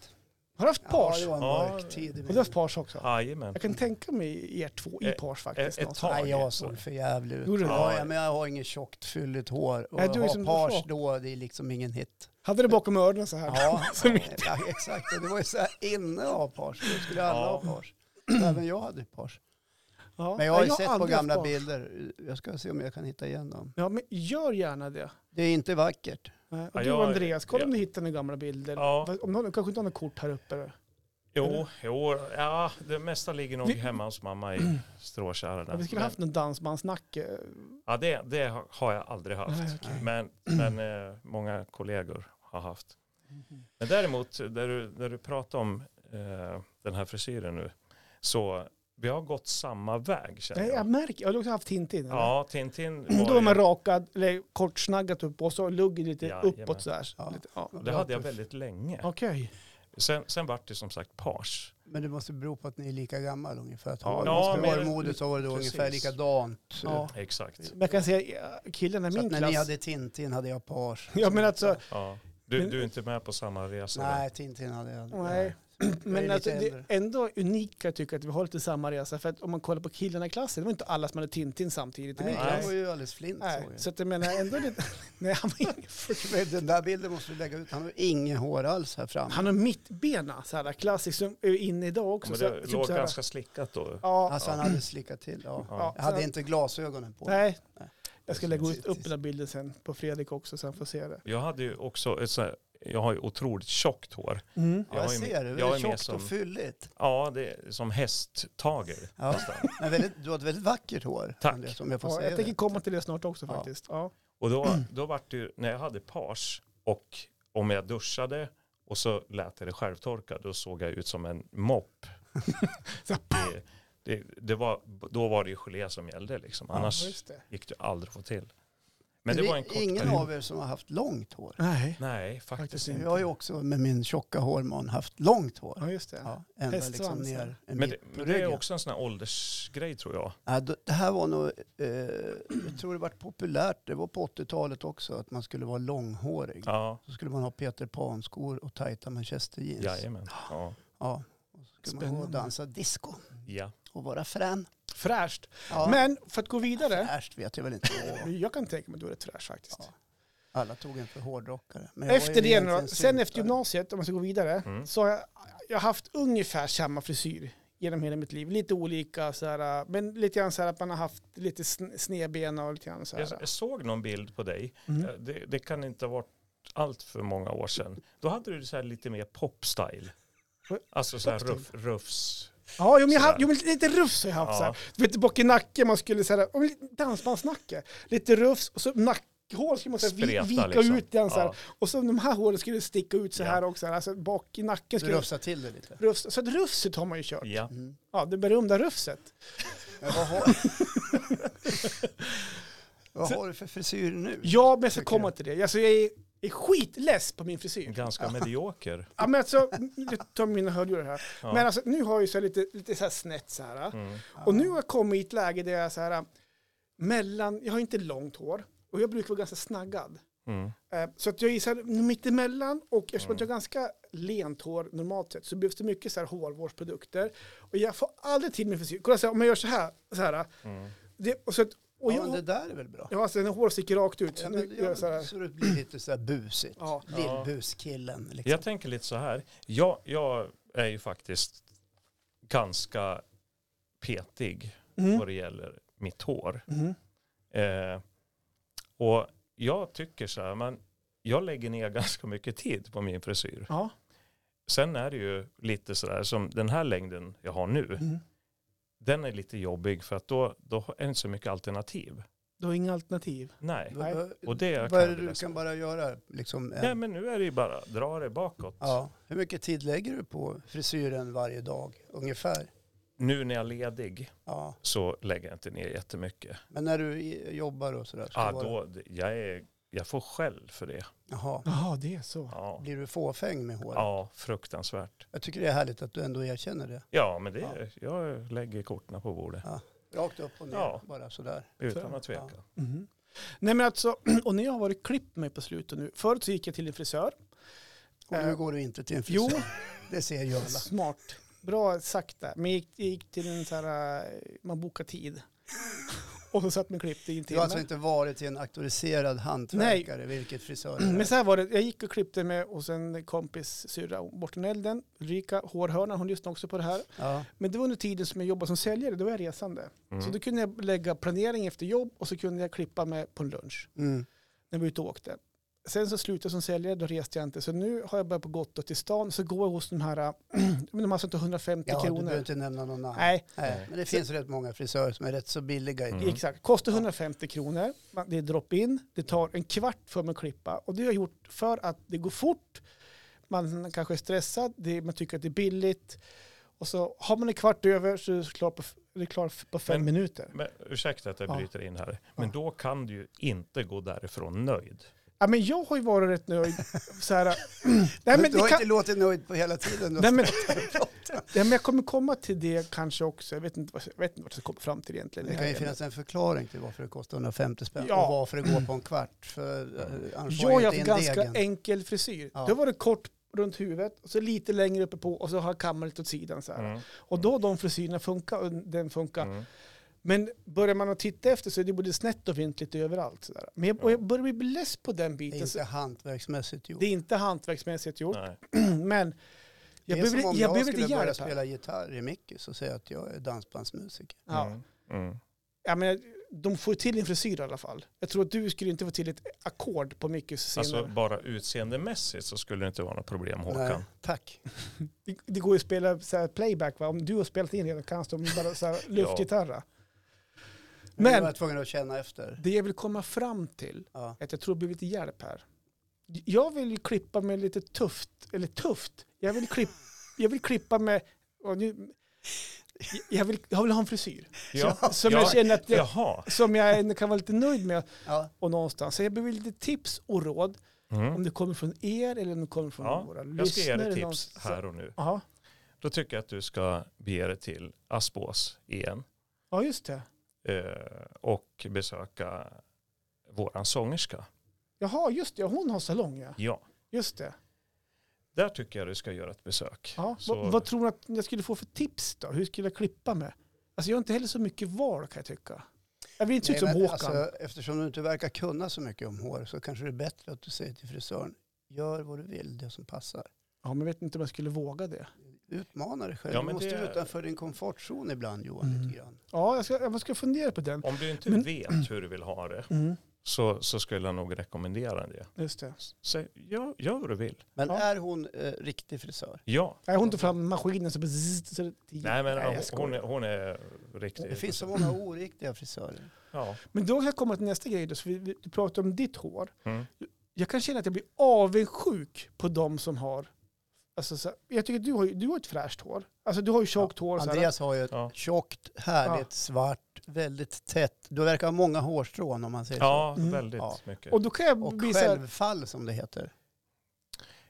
Speaker 2: har du haft
Speaker 3: Ja,
Speaker 2: page?
Speaker 3: det var en
Speaker 1: Ja.
Speaker 3: mörk tid. i
Speaker 2: Och du
Speaker 3: min-
Speaker 2: har haft page också?
Speaker 1: Jajamän.
Speaker 2: Jag kan tänka mig er två i
Speaker 1: Eh,
Speaker 2: page faktiskt.
Speaker 1: ett
Speaker 2: någonstans.
Speaker 1: tag.
Speaker 3: Nej, jag såg för jävligt ut.
Speaker 2: Gjorde du det?
Speaker 3: Ja, ja, men jag har inget tjockt fylligt hår. Och
Speaker 2: Nej, du är
Speaker 3: har
Speaker 2: som-
Speaker 3: pars då, det är liksom ingen hit.
Speaker 2: Hade det bakom öronen så här?
Speaker 3: Ja,
Speaker 2: Så mitt-
Speaker 3: ja exakt. Och Det var ju så här inne av pars. Då skulle alla
Speaker 1: Ja.
Speaker 3: ha pars. Även jag hade pars.
Speaker 2: Ja.
Speaker 3: Men jag har ju
Speaker 2: Nej,
Speaker 3: sett på
Speaker 2: aldrig haft
Speaker 3: gamla
Speaker 2: page.
Speaker 3: bilder. Jag ska se om jag kan hitta igen dem.
Speaker 2: Ja, men gör gärna det.
Speaker 3: Det är inte vackert.
Speaker 2: Nej, Och
Speaker 1: Ja,
Speaker 2: du
Speaker 1: jag-
Speaker 2: Andreas, kolla om
Speaker 1: ja.
Speaker 2: du hittar några gamla bilder.
Speaker 1: Ja.
Speaker 2: Fast Om du har- kanske inte har något kort här uppe. eller?
Speaker 1: Jo, jo, ja, det mesta ligger nog
Speaker 2: Vi-
Speaker 1: hemma hos mamma i stråkärlen.
Speaker 2: Ja, vi skulle
Speaker 1: Men-
Speaker 2: haft någon dansbandsnack. eh,
Speaker 1: Ja, det, det har jag aldrig haft.
Speaker 2: Nej, okej.
Speaker 1: Men, men eh, många kollegor har haft. Men däremot, där du, där du pratar om eh, den här frisyren nu, så vi har gått samma väg känner
Speaker 2: Nej, jag
Speaker 1: jag.
Speaker 2: märker, jag har också haft Tintin. eller?
Speaker 1: Ja, Tintin
Speaker 2: Då är
Speaker 1: var
Speaker 2: man
Speaker 1: ju,
Speaker 2: rakad, eller kortsnaggat upp och så luggen lite
Speaker 1: Jajamän.
Speaker 2: uppåt så här.
Speaker 3: Ja.
Speaker 2: Lite, Ja.
Speaker 1: det hade jag väldigt länge.
Speaker 2: Okej.
Speaker 1: Sen, sen vart det som sagt pars.
Speaker 3: Men det måste bero på att ni är lika gamla ungefär.
Speaker 1: Ja,
Speaker 3: Ja,
Speaker 1: ja, men-
Speaker 3: Hårmodet så var det då
Speaker 1: Precis.
Speaker 3: ungefär likadant.
Speaker 2: Ja.
Speaker 1: Exakt.
Speaker 2: Men jag kan säga, eh, killarna i
Speaker 3: Så
Speaker 2: min
Speaker 3: att när ni
Speaker 2: klass.
Speaker 3: hade Tintin hade jag pars.
Speaker 2: Ja, men alltså,
Speaker 1: Ja. Du,
Speaker 2: Men-
Speaker 1: du är inte med på samma resa? då?
Speaker 3: Nej, Tintin hade jag aldrig.
Speaker 2: Nej. men
Speaker 3: lite
Speaker 2: alltså, det är
Speaker 3: äldre.
Speaker 2: ändå unika tycker jag att vi har lite samma resa. För att om man kollar på killarna i klassen, det var inte alla som hade Tintin samtidigt i
Speaker 3: Nej,
Speaker 2: min
Speaker 3: han
Speaker 2: klass.
Speaker 3: var ju alldeles flint.
Speaker 2: Nej,
Speaker 3: såg jag.
Speaker 2: så att jag menar ändå lite... Nej, han var ingen
Speaker 3: Men Den där bilden måste du lägga ut. Han har ju inget hår alls här framme.
Speaker 2: Han har mittbena, så här klassiskt, som är inne idag också.
Speaker 1: Men
Speaker 2: så,
Speaker 1: det
Speaker 2: typ
Speaker 1: låg
Speaker 2: så här-
Speaker 1: ganska slickat då.
Speaker 2: Ja,
Speaker 3: Alltså han hade slickat till. Ja.
Speaker 2: ja,
Speaker 3: Jag hade
Speaker 2: så-
Speaker 3: inte glasögonen på.
Speaker 2: Nej.
Speaker 3: Nej.
Speaker 2: Jag ska lägga ut upp den här bilden sen på Fredrik också så han får se det.
Speaker 1: Jag hade ju också, ett så här, jag har ju otroligt tjockt hår.
Speaker 3: Ja, jag
Speaker 1: Jag är med-
Speaker 3: ser det.
Speaker 1: jag
Speaker 3: Väldigt
Speaker 1: är med
Speaker 3: tjockt
Speaker 1: som-
Speaker 3: och fylligt.
Speaker 1: Ja, det är som hästtager.
Speaker 3: Ja.
Speaker 1: nästan.
Speaker 3: Men väldigt, du har ett väldigt vackert hår.
Speaker 1: Tack.
Speaker 3: Andreas, om jag får
Speaker 2: Ja,
Speaker 3: säga
Speaker 2: jag tänker
Speaker 3: det.
Speaker 2: komma till det snart också
Speaker 3: Ja.
Speaker 2: faktiskt. Ja.
Speaker 1: Och då, då var det ju, när jag hade page och om jag duschade och så lät jag det självtorka, då såg jag ut som en mopp.
Speaker 2: Så-
Speaker 1: det, det, det var, då var det ju gelé som gällde liksom, annars
Speaker 2: Ja, just det.
Speaker 1: gick det aldrig att få till. Men det, var en kort
Speaker 3: ingen
Speaker 1: period.
Speaker 3: av er som har haft långt hår.
Speaker 2: Nej.
Speaker 1: Nej,
Speaker 2: Faktiskt
Speaker 1: faktiskt
Speaker 2: inte.
Speaker 1: inte.
Speaker 3: Jag har ju också med min tjocka hårman haft långt hår.
Speaker 2: Ja, just det.
Speaker 3: Ja, ända liksom
Speaker 2: Hästsvans,
Speaker 3: ner en
Speaker 1: Men
Speaker 3: bit
Speaker 1: det,
Speaker 3: på
Speaker 1: men det är
Speaker 3: ryggen.
Speaker 1: också en sån här åldersgrej tror jag.
Speaker 3: Ja, då- det här var nog, eh, jag tror det var populärt, det var på 80-talet också, att man skulle vara långhårig.
Speaker 1: Ja,
Speaker 3: Så skulle man ha Peter Pan-skor och tajta manchesterjeans.
Speaker 1: jajamän. Ja.
Speaker 3: Ja, och så skulle man gå och
Speaker 2: Spännande.
Speaker 3: dansa disco
Speaker 1: Ja.
Speaker 3: och vara frän.
Speaker 2: Fräscht.
Speaker 3: Ja,
Speaker 2: Men för att gå vidare.
Speaker 3: Fräscht vet jag väl inte.
Speaker 2: Jag kan tänka mig att du är rätt fräsch faktiskt.
Speaker 3: Ja. Alla tog en för hårdrockare. Men jag var
Speaker 2: Efter
Speaker 3: ju
Speaker 2: det,
Speaker 3: egentligen
Speaker 2: nu, sen efter
Speaker 3: syntare.
Speaker 2: gymnasiet, om man ska gå vidare,
Speaker 1: Mm.
Speaker 2: så har jag, jag har haft ungefär samma frisyr genom hela mitt liv. Lite olika, så här, men lite grann så här att man har haft lite sn- snedbena och lite grann så
Speaker 1: Jag,
Speaker 2: här.
Speaker 1: jag såg någon bild på dig
Speaker 2: Mm.
Speaker 1: Eh, Det, det kan inte ha varit allt för många år sedan. Då hade du så här lite mer popstyle. Alltså så här
Speaker 2: Stoppstil.
Speaker 1: ruff, ruffs.
Speaker 2: Ja, jo, men jag
Speaker 1: Sådär.
Speaker 2: hade, jo, men lite rufs har jag haft
Speaker 1: Ja.
Speaker 2: så här. Du vet tillbaka i nacken, man skulle så här, ja, men lite dansbandsnacke. Lite rufs och så nackhål skulle man så här, vi,
Speaker 1: Spreta,
Speaker 2: vika
Speaker 1: liksom.
Speaker 2: ut den så här.
Speaker 1: Ja.
Speaker 2: Och så de här hålen skulle sticka ut så
Speaker 1: Ja.
Speaker 2: här också, alltså bak i nacken.
Speaker 3: Du
Speaker 2: Skulle
Speaker 3: rufsar till det lite.
Speaker 2: rufs, så att rufset har man ju kört.
Speaker 1: Ja.
Speaker 3: Mm.
Speaker 2: Ja, det berömda rufset.
Speaker 3: Men vad, har... vad har du för frisyr nu?
Speaker 2: Ja, men jag ska
Speaker 3: Tycker jag.
Speaker 2: komma till det. Alltså, jag är, är skitless på min frisyr.
Speaker 1: Ganska medioker.
Speaker 2: Ja, men alltså, jag tar mina hörlurar här.
Speaker 1: Ja.
Speaker 2: Men alltså, nu har jag ju så här lite, lite så här snett så här.
Speaker 1: Mm.
Speaker 2: Och nu har jag kommit i ett läge där jag är så här, mellan, jag har inte långt hår och jag brukar vara ganska snaggad.
Speaker 1: Mm.
Speaker 2: Eh, Så att jag är så här mittemellan och eftersom att jag
Speaker 1: Mm.
Speaker 2: har ganska lent hår normalt sett så behövs det mycket så här hårvårdsprodukter. Och jag får aldrig till min frisyr. Kolla så här, om jag gör så här, så här.
Speaker 1: Mm.
Speaker 2: Det, och så att, och
Speaker 3: ja, men det
Speaker 2: jag,
Speaker 3: där är väl bra?
Speaker 2: ja, alltså, när hår sticker rakt ut.
Speaker 3: Ja,
Speaker 2: så nu
Speaker 3: men,
Speaker 2: gör
Speaker 3: ja,
Speaker 2: jag så
Speaker 3: så,
Speaker 2: här.
Speaker 3: det blir lite så här busigt.
Speaker 2: Ja.
Speaker 3: Lillbuskillen. Liksom.
Speaker 1: Jag tänker lite så här. Jag, jag är ju faktiskt ganska petig vad
Speaker 2: Mm.
Speaker 1: det gäller mitt hår.
Speaker 2: Mm.
Speaker 1: Eh, och jag tycker så här, men jag lägger ner ganska mycket tid på min frisyr.
Speaker 2: Ja.
Speaker 1: Sen är det ju lite så där som den här längden jag har nu.
Speaker 2: Mm.
Speaker 1: Den är lite jobbig för att då, då är det inte så mycket alternativ.
Speaker 2: Du har inga alternativ.
Speaker 1: Nej.
Speaker 3: Vad-
Speaker 2: Nej.
Speaker 1: Och det kan
Speaker 3: vad är
Speaker 1: jag
Speaker 3: det du
Speaker 1: läsa.
Speaker 3: kan bara göra? Liksom, en-
Speaker 1: Nej men nu är det ju bara dra det bakåt.
Speaker 3: ja. Hur mycket tid lägger du på frisyren varje dag ungefär?
Speaker 1: Nu när jag är ledig
Speaker 3: Ja.
Speaker 1: så lägger jag inte ner jättemycket.
Speaker 3: Men när du i- jobbar och sådär? ska
Speaker 1: Ja,
Speaker 3: det vara-
Speaker 1: då, jag, är, jag får skäll för det.
Speaker 3: Jaha.
Speaker 2: Jaha, det är så.
Speaker 1: Ja.
Speaker 3: Blir du fåfäng med håret?
Speaker 1: ja, fruktansvärt.
Speaker 3: Jag tycker det är härligt att du ändå erkänner det.
Speaker 1: Ja, men det, jag lägger korten på bordet
Speaker 3: Rakt upp och ner,
Speaker 1: Ja.
Speaker 3: bara sådär.
Speaker 1: utan att tveka.
Speaker 2: Mhm. Nej men alltså, och när jag har varit klippt mig på slutet nu. Förut så gick jag till en frisör.
Speaker 3: Och
Speaker 2: Eh,
Speaker 3: nu går du inte till en frisör.
Speaker 2: Jo,
Speaker 3: Det ser ju alla.
Speaker 2: smart. Bra sagt där. Men jag gick, jag gick till en så här, eh, man bokar tid. Och så satt man och klippte i en
Speaker 3: Du har
Speaker 2: timme.
Speaker 3: alltså inte varit till en auktoriserad hantverkare, vilket frisör det är.
Speaker 2: Mm, Men så här var det, jag gick och klippte mig hos en kompis syrra bortom elden. Ulrika Hårhörna, hon lyssnade också på det här.
Speaker 3: ja.
Speaker 2: Men det var under tiden som jag jobbade som säljare, då var jag resande. Så
Speaker 1: Mm.
Speaker 2: då kunde jag lägga planering efter jobb och så kunde jag klippa mig på en lunch
Speaker 3: mm.
Speaker 2: när vi var ute och åkte. Sen så slutade jag som säljare, då reste jag inte. Så nu har jag börjat på Gotland till stan, så går jag hos de här, eh, men de har alltså inte 150
Speaker 3: ja du
Speaker 2: kronor.
Speaker 3: behöver inte nämna någon namn.
Speaker 2: Nej,
Speaker 3: Nej, men det finns rätt många frisörer som är rätt så billiga.
Speaker 1: Mm.
Speaker 2: Exakt. Kostar 150 kronor. Man- Det är drop-in. Det tar en kvart för mig att klippa. Och det har jag gjort för att det går fort. Man kanske är stressad. Det, man tycker att det är billigt. Och så har man en kvart över så är det klart på, f- det är klart på fem
Speaker 1: Men-
Speaker 2: minuter.
Speaker 1: Men, ursäkta att jag
Speaker 2: Ja.
Speaker 1: bryter in här, men
Speaker 2: Ja.
Speaker 1: då kan du ju inte gå därifrån nöjd.
Speaker 2: Ja, men jag har ju varit rätt nöjd. Så här, nej, men
Speaker 3: du har
Speaker 2: det kan,
Speaker 3: inte låtit nöjd på hela tiden.
Speaker 2: nej, men, nej, men jag kommer komma till det kanske också. Jag vet inte, vad- jag vet inte vart jag kommer fram till egentligen.
Speaker 3: det kan ju finnas en förklaring till varför det kostar 150 spänn
Speaker 2: Ja.
Speaker 3: och varför det går på en kvart. För eh, annars
Speaker 2: Jag
Speaker 3: får
Speaker 2: har
Speaker 3: ju
Speaker 2: haft
Speaker 3: inte in
Speaker 2: ganska
Speaker 3: degen.
Speaker 2: enkel frisyr.
Speaker 3: Ja.
Speaker 2: Då var det kort runt huvudet, och så lite längre uppe på och så har kammaren lite åt sidan. Så här.
Speaker 1: Mm.
Speaker 2: Och då har de frisyrerna funkat och den funkar.
Speaker 1: Mm.
Speaker 2: Men börjar man att titta efter så är det både snett och vint lite överallt. Så där. Men jag, och jag börjar bli less på den
Speaker 3: Det är
Speaker 2: biten. så
Speaker 3: inte hantverksmässigt gjort.
Speaker 2: alltså. det är inte hantverksmässigt gjort,
Speaker 1: Nej.
Speaker 2: men jag
Speaker 3: Det är som
Speaker 2: behöver,
Speaker 3: om
Speaker 2: jag
Speaker 3: jag
Speaker 2: behöver
Speaker 3: skulle
Speaker 2: lite
Speaker 3: börja
Speaker 2: hjälp här.
Speaker 3: spela gitarr i Mickis och säga att jag är dansbandsmusiker.
Speaker 2: Ja.
Speaker 1: Mm. Mm.
Speaker 2: Ja, men, de får ju till en frisyr i alla fall. Jag tror att du skulle inte få till ett ackord på mycket senare.
Speaker 1: Alltså bara utseendemässigt så skulle det inte vara något problem
Speaker 3: Nej,
Speaker 1: Håkan.
Speaker 3: tack.
Speaker 2: Det, det går ju att spela så här playback va? Om du har spelat in redan kan de bara så här luftgitarra.
Speaker 3: Men jag
Speaker 2: Men
Speaker 3: var tvungen att känna efter.
Speaker 2: det jag vill komma fram till,
Speaker 3: Ja.
Speaker 2: är att jag tror det blir lite hjälp här. Jag vill ju klippa mig lite tufft, eller tufft, jag vill, klipp, jag vill klippa mig, och nu, jag, vill, jag vill ha en frisyr.
Speaker 1: Ja.
Speaker 2: Som
Speaker 1: Ja.
Speaker 2: jag känner att jag,
Speaker 1: Jaha.
Speaker 2: som jag ändå kan vara lite nöjd med.
Speaker 3: Ja.
Speaker 2: Och någonstans. Så jag behöver lite tips och råd, om
Speaker 1: Mm.
Speaker 2: det kommer från er eller om det kommer från
Speaker 1: Ja,
Speaker 2: våra
Speaker 1: Jag ska ge
Speaker 2: lyssnare.
Speaker 1: dig tips
Speaker 2: någonstans.
Speaker 1: här och nu.
Speaker 2: Ja,
Speaker 1: Då tycker jag att du ska bege dig till Aspås igen
Speaker 2: ja just det.
Speaker 1: eh, och besöka våran sångerska.
Speaker 2: Jaha, just det. Ja, Hon har salong, ja.
Speaker 1: Ja,
Speaker 2: Just det.
Speaker 1: där tycker jag du ska göra ett besök.
Speaker 2: Ja.
Speaker 1: Så-
Speaker 2: Vad, vad tror du att jag skulle få för tips då? Hur skulle jag klippa mig? Alltså jag har inte heller så mycket val kan jag tycka. Jag vill inte se ut som
Speaker 3: Nej, men
Speaker 2: Håkan.
Speaker 3: alltså, eftersom du inte verkar kunna så mycket om hår så kanske det är bättre att du säger till frisören, gör vad du vill, det som passar.
Speaker 2: Ja, men jag vet inte om jag skulle våga det.
Speaker 3: Utmana dig själv.
Speaker 1: Ja,
Speaker 3: du
Speaker 1: men
Speaker 3: måste
Speaker 1: det-
Speaker 3: vara utanför din komfortzon ibland Johan.
Speaker 2: Mm.
Speaker 3: Lite grann.
Speaker 2: Ja, jag ska, jag ska fundera på den.
Speaker 1: Om du inte
Speaker 2: Men-
Speaker 1: vet hur du vill ha det
Speaker 2: Mm.
Speaker 1: så, så skulle jag nog rekommendera det.
Speaker 2: Just det.
Speaker 1: Så, ja, gör vad du vill.
Speaker 3: Men
Speaker 2: Ja.
Speaker 3: är hon eh, riktig frisör?
Speaker 1: Ja.
Speaker 2: Nej, hon tog fram maskinen så... bzzzt, så det-
Speaker 1: Nej men
Speaker 2: jag
Speaker 1: hon, hon,
Speaker 2: skojar.
Speaker 1: är, hon är riktig.
Speaker 3: Det finns så många oriktiga frisörer.
Speaker 1: Ja.
Speaker 2: Men då kan jag komma till nästa grej då, så vi, vi, du pratar om ditt hår.
Speaker 1: Mm.
Speaker 2: jag kan känna att jag blir avundsjuk på de som har... Alltså, så, jag tycker att du har, ju- du har ett fräscht hår. Alltså du har ju tjockt hår. Så här,
Speaker 3: Andreas har ju ett
Speaker 1: Ja.
Speaker 3: tjockt, härligt, svart, väldigt tätt. Du verkar ha många hårstrån om man säger
Speaker 1: Ja,
Speaker 2: Mm.
Speaker 1: väldigt
Speaker 3: Ja.
Speaker 1: mycket.
Speaker 2: och då kan jag
Speaker 3: så. Och
Speaker 2: bli så här,
Speaker 3: självfall som det heter.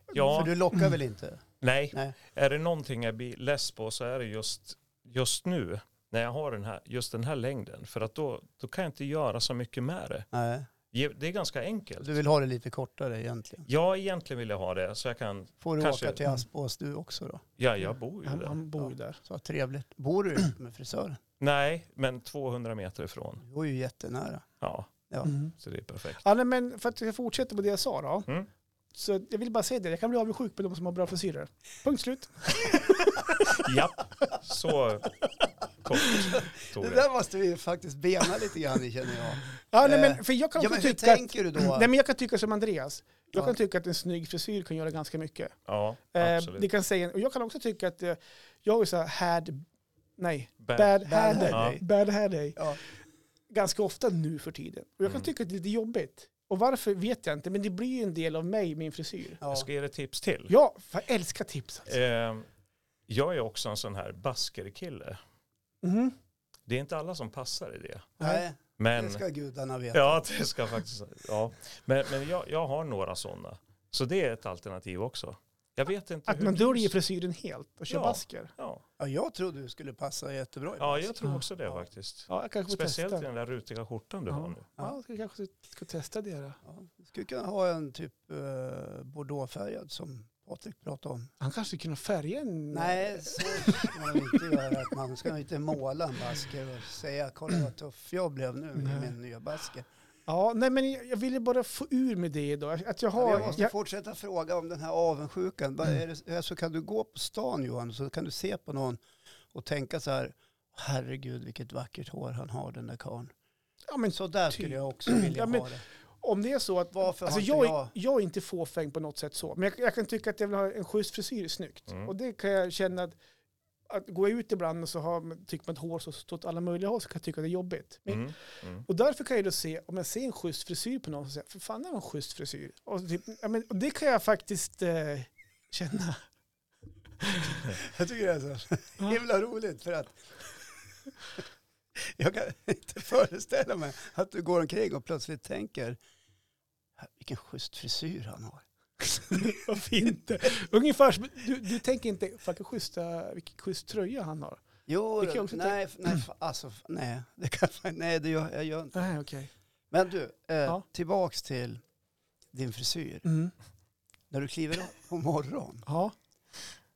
Speaker 3: För
Speaker 1: Ja,
Speaker 3: du lockar väl inte?
Speaker 1: nej.
Speaker 3: Nej.
Speaker 1: Är det någonting jag blir less på så är det just, just nu när jag har den här, just den här längden. För att då, då kan jag inte göra så mycket med det.
Speaker 3: Nej.
Speaker 1: Ge- Det är ganska enkelt.
Speaker 3: Du vill ha det lite kortare egentligen.
Speaker 1: Ja, egentligen vill jag ha det så jag kan,
Speaker 3: Får du
Speaker 1: Kanske.
Speaker 3: åka till Aspås du också då?
Speaker 1: ja jag bor ju
Speaker 2: han,
Speaker 1: där.
Speaker 2: han bor ju där.
Speaker 3: Så trevligt. Bor du med frisören?
Speaker 1: Nej, men 200 meter ifrån.
Speaker 3: Du bor ju jättenära.
Speaker 1: Ja,
Speaker 3: Ja.
Speaker 2: Mm.
Speaker 1: så det är perfekt.
Speaker 2: Ja, nej, men för att jag fortsätter på det jag sa då.
Speaker 1: Mm.
Speaker 2: Så jag vill bara säga det, jag kan bli avundsjuk på de som har bra frisyrer. Punkt
Speaker 3: Eh,
Speaker 2: slut.
Speaker 1: Ja, så kort tog
Speaker 3: Det
Speaker 1: det.
Speaker 3: där måste vi faktiskt bena lite grann i känner jag.
Speaker 2: Ja, nej,
Speaker 3: Eh,
Speaker 2: men, för jag kan
Speaker 3: Ja
Speaker 2: också
Speaker 3: men hur
Speaker 2: tycka att,
Speaker 3: tänker du då?
Speaker 2: typ nej, men jag kan tycka som Andreas. Jag
Speaker 3: Ja.
Speaker 2: kan tycka att en snygg frisyr kan göra ganska mycket.
Speaker 1: Ja,
Speaker 2: Eh, det
Speaker 1: absolut.
Speaker 2: kan säga, och jag kan också tycka att eh, jag är så här had, nej,
Speaker 1: Bad-
Speaker 2: bad, hair
Speaker 3: hair
Speaker 2: day.
Speaker 1: day.
Speaker 2: Bad hair day.
Speaker 3: Ja.
Speaker 2: Ganska ofta nu för tiden. Och jag kan
Speaker 1: Mm.
Speaker 2: tycka att det är lite jobbigt. Och varför vet jag inte, men det blir ju en del av mig, min frisyr.
Speaker 3: Ja.
Speaker 1: Jag ska ge dig tips till.
Speaker 2: Ja, för jag älskar tips. Alltså.
Speaker 1: Eh, jag är också en sån här baskerkille.
Speaker 3: Eh,
Speaker 2: Mhm.
Speaker 1: Det är inte alla som passar i det.
Speaker 3: Nej,
Speaker 1: Men,
Speaker 3: det ska gudarna veta.
Speaker 1: ja, det ska faktiskt, ja. men, men jag, jag har några sådana. Så det är ett alternativ också. Jag vet inte
Speaker 2: Att
Speaker 1: hur
Speaker 2: man
Speaker 1: du-
Speaker 2: döljer frisyren helt och kör
Speaker 1: Ja.
Speaker 2: basker.
Speaker 1: Ja.
Speaker 3: Ja, jag trodde du skulle passa jättebra i
Speaker 1: ja,
Speaker 3: mask.
Speaker 1: jag tror också det faktiskt.
Speaker 2: Ah. Ja, jag kanske får
Speaker 1: Speciellt i
Speaker 2: testa.
Speaker 1: den där rutiga skjortan du
Speaker 2: Ja.
Speaker 1: har nu.
Speaker 2: Ja, jag kanske ska testa det då.
Speaker 3: Ja, du skulle kunna ha en typ eh, bordeauxfärgad som Patrik pratade om.
Speaker 2: Han kanske kunde färga en...
Speaker 3: Nej, så ska man inte göra. Att man ska inte måla en basker och säga kolla vad tuff jag blev nu med min nya basker.
Speaker 2: Ja, nej men jag jag ville bara få ur med det då. Att jag har...
Speaker 3: Jag måste
Speaker 2: jag-
Speaker 3: fortsätta fråga om den här avundsjukan.
Speaker 2: Mm.
Speaker 3: Vad Är det, alltså, kan du gå på stan Johan så kan du se på någon och tänka så här herregud vilket vackert hår han har den där karln.
Speaker 2: ja, men
Speaker 3: Så där
Speaker 2: Typ.
Speaker 3: skulle jag också vilja
Speaker 2: Ja, men-
Speaker 3: ha det.
Speaker 2: om det är så att
Speaker 3: Varför
Speaker 2: Alltså
Speaker 3: har
Speaker 2: jag,
Speaker 3: inte jag...
Speaker 2: är, jag är inte fåfäng på något sätt så, men jag, jag kan tycka att jag vill ha en schysst frisyr är snyggt.
Speaker 1: Mm.
Speaker 2: Och det kan jag känna att, att gå ut ibland och så har, tycker man att hår så står åt alla möjliga håll så kan jag tycka att det är jobbigt. Men,
Speaker 1: Mm. Mm.
Speaker 2: Och därför kan jag då se, om jag ser en schysst frisyr på någon så säger jag, för fan det var en schysst frisyr. Och, typ, ja, men, och det kan jag faktiskt eh, känna.
Speaker 3: Jag tycker det är så himla roligt för att jag kan inte föreställa mig att du går omkring och plötsligt tänker vilken schysst frisyr han har.
Speaker 2: Varför inte? Ungefär som, du, du tänker inte, fan vilken schysst, eh, vilken schysst tröja han har.
Speaker 3: Jo,
Speaker 2: Det kan jag också
Speaker 3: nej, f- nej, f- alltså, f- nej, det kan, nej, det gör, jag gör inte.
Speaker 2: Nej, okej.
Speaker 3: Men du, eh,
Speaker 2: Ja.
Speaker 3: tillbaks till din frisyr.
Speaker 2: Mm.
Speaker 3: När du kliver upp på morgonen,
Speaker 2: Ja.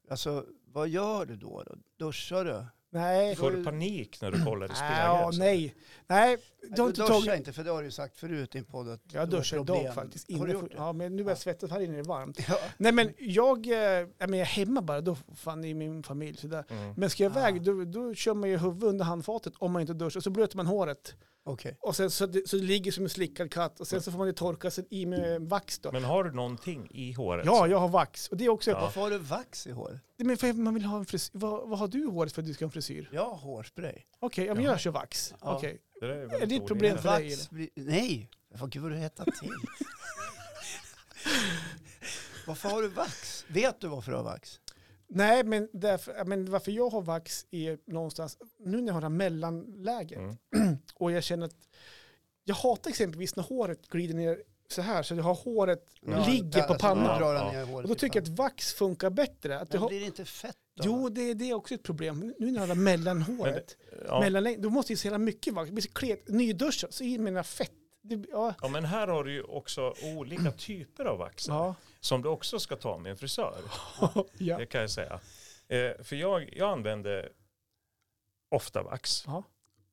Speaker 3: alltså vad gör du då? då? Duschar du?
Speaker 2: Nej.
Speaker 1: Får du panik när du kollar i spegeln?
Speaker 2: Ah, Ja,
Speaker 1: så?
Speaker 2: nej. Nej, du har
Speaker 3: Du
Speaker 2: inte
Speaker 3: duschar
Speaker 2: tagit...
Speaker 3: inte, för det har du ju sagt förut i en podd att
Speaker 2: Jag
Speaker 3: du har
Speaker 2: duschar
Speaker 3: problem.
Speaker 2: idag faktiskt.
Speaker 3: Har
Speaker 2: Inne
Speaker 3: du
Speaker 2: för-
Speaker 3: gjort det?
Speaker 2: Ja, men nu är
Speaker 3: Ja.
Speaker 2: jag svettas här inne är det varmt.
Speaker 3: Ja.
Speaker 2: Nej men jag, eh, nej, men jag är hemma bara, då fan är min familj sådär.
Speaker 1: Mm.
Speaker 2: Men ska jag
Speaker 3: Ah.
Speaker 2: iväg, då, då kör man ju huvudet under handfatet om man inte duschar. Så blöter man håret.
Speaker 3: Okej.
Speaker 2: Och sen så, det, så det ligger som en slickad katt. Och sen så får man det torka sig i med vax då.
Speaker 1: Men har du någonting i håret?
Speaker 2: Ja, jag har vax. Och det är också,
Speaker 1: Ja.
Speaker 3: Varför har du vax i håret?
Speaker 2: men för man vill ha en frisyr. Vad, vad har du i håret för att du ska ha en frisyr?
Speaker 3: Jag har hårspray.
Speaker 2: Okej, ja, men
Speaker 1: Jaha.
Speaker 2: jag kör vax.
Speaker 3: Ja.
Speaker 2: Okej.
Speaker 1: Det där är,
Speaker 2: Är
Speaker 1: väldigt
Speaker 2: det ett
Speaker 1: orimligt.
Speaker 2: problem för- dig,
Speaker 3: Vax blir... Nej! Vad gud vad du hettar till. varför har du vax? Vet du varför du har vax?
Speaker 2: Nej, men, därför, ja, men varför jag har vax är någonstans, nu när jag har det här mellanläget
Speaker 1: Mm.
Speaker 2: och jag känner att jag hatar exempelvis när håret glider ner så här så jag har håret ligger på
Speaker 3: Alltså, du
Speaker 2: pannan.
Speaker 3: drar den
Speaker 1: Ja.
Speaker 3: ner i håret
Speaker 2: Och då
Speaker 3: i
Speaker 2: tycker jag
Speaker 3: pannan.
Speaker 2: att vax funkar bättre. Att jag
Speaker 3: Men
Speaker 2: har,
Speaker 3: blir det inte fett då?
Speaker 2: jo, det, det är också ett problem. Nu när jag har det här mellanhåret,
Speaker 1: Ja.
Speaker 2: mellanläng- då måste jag se hela mycket vax. Det blir så klet, nyduschad, så in mina fett. Det, ja,
Speaker 1: Ja, men här har du ju också olika typer av vaxer
Speaker 2: ja,
Speaker 1: som du också ska ta med en frisör.
Speaker 2: ja.
Speaker 1: Det kan jag säga. Eh, för jag, jag använder ofta vax
Speaker 2: Ja.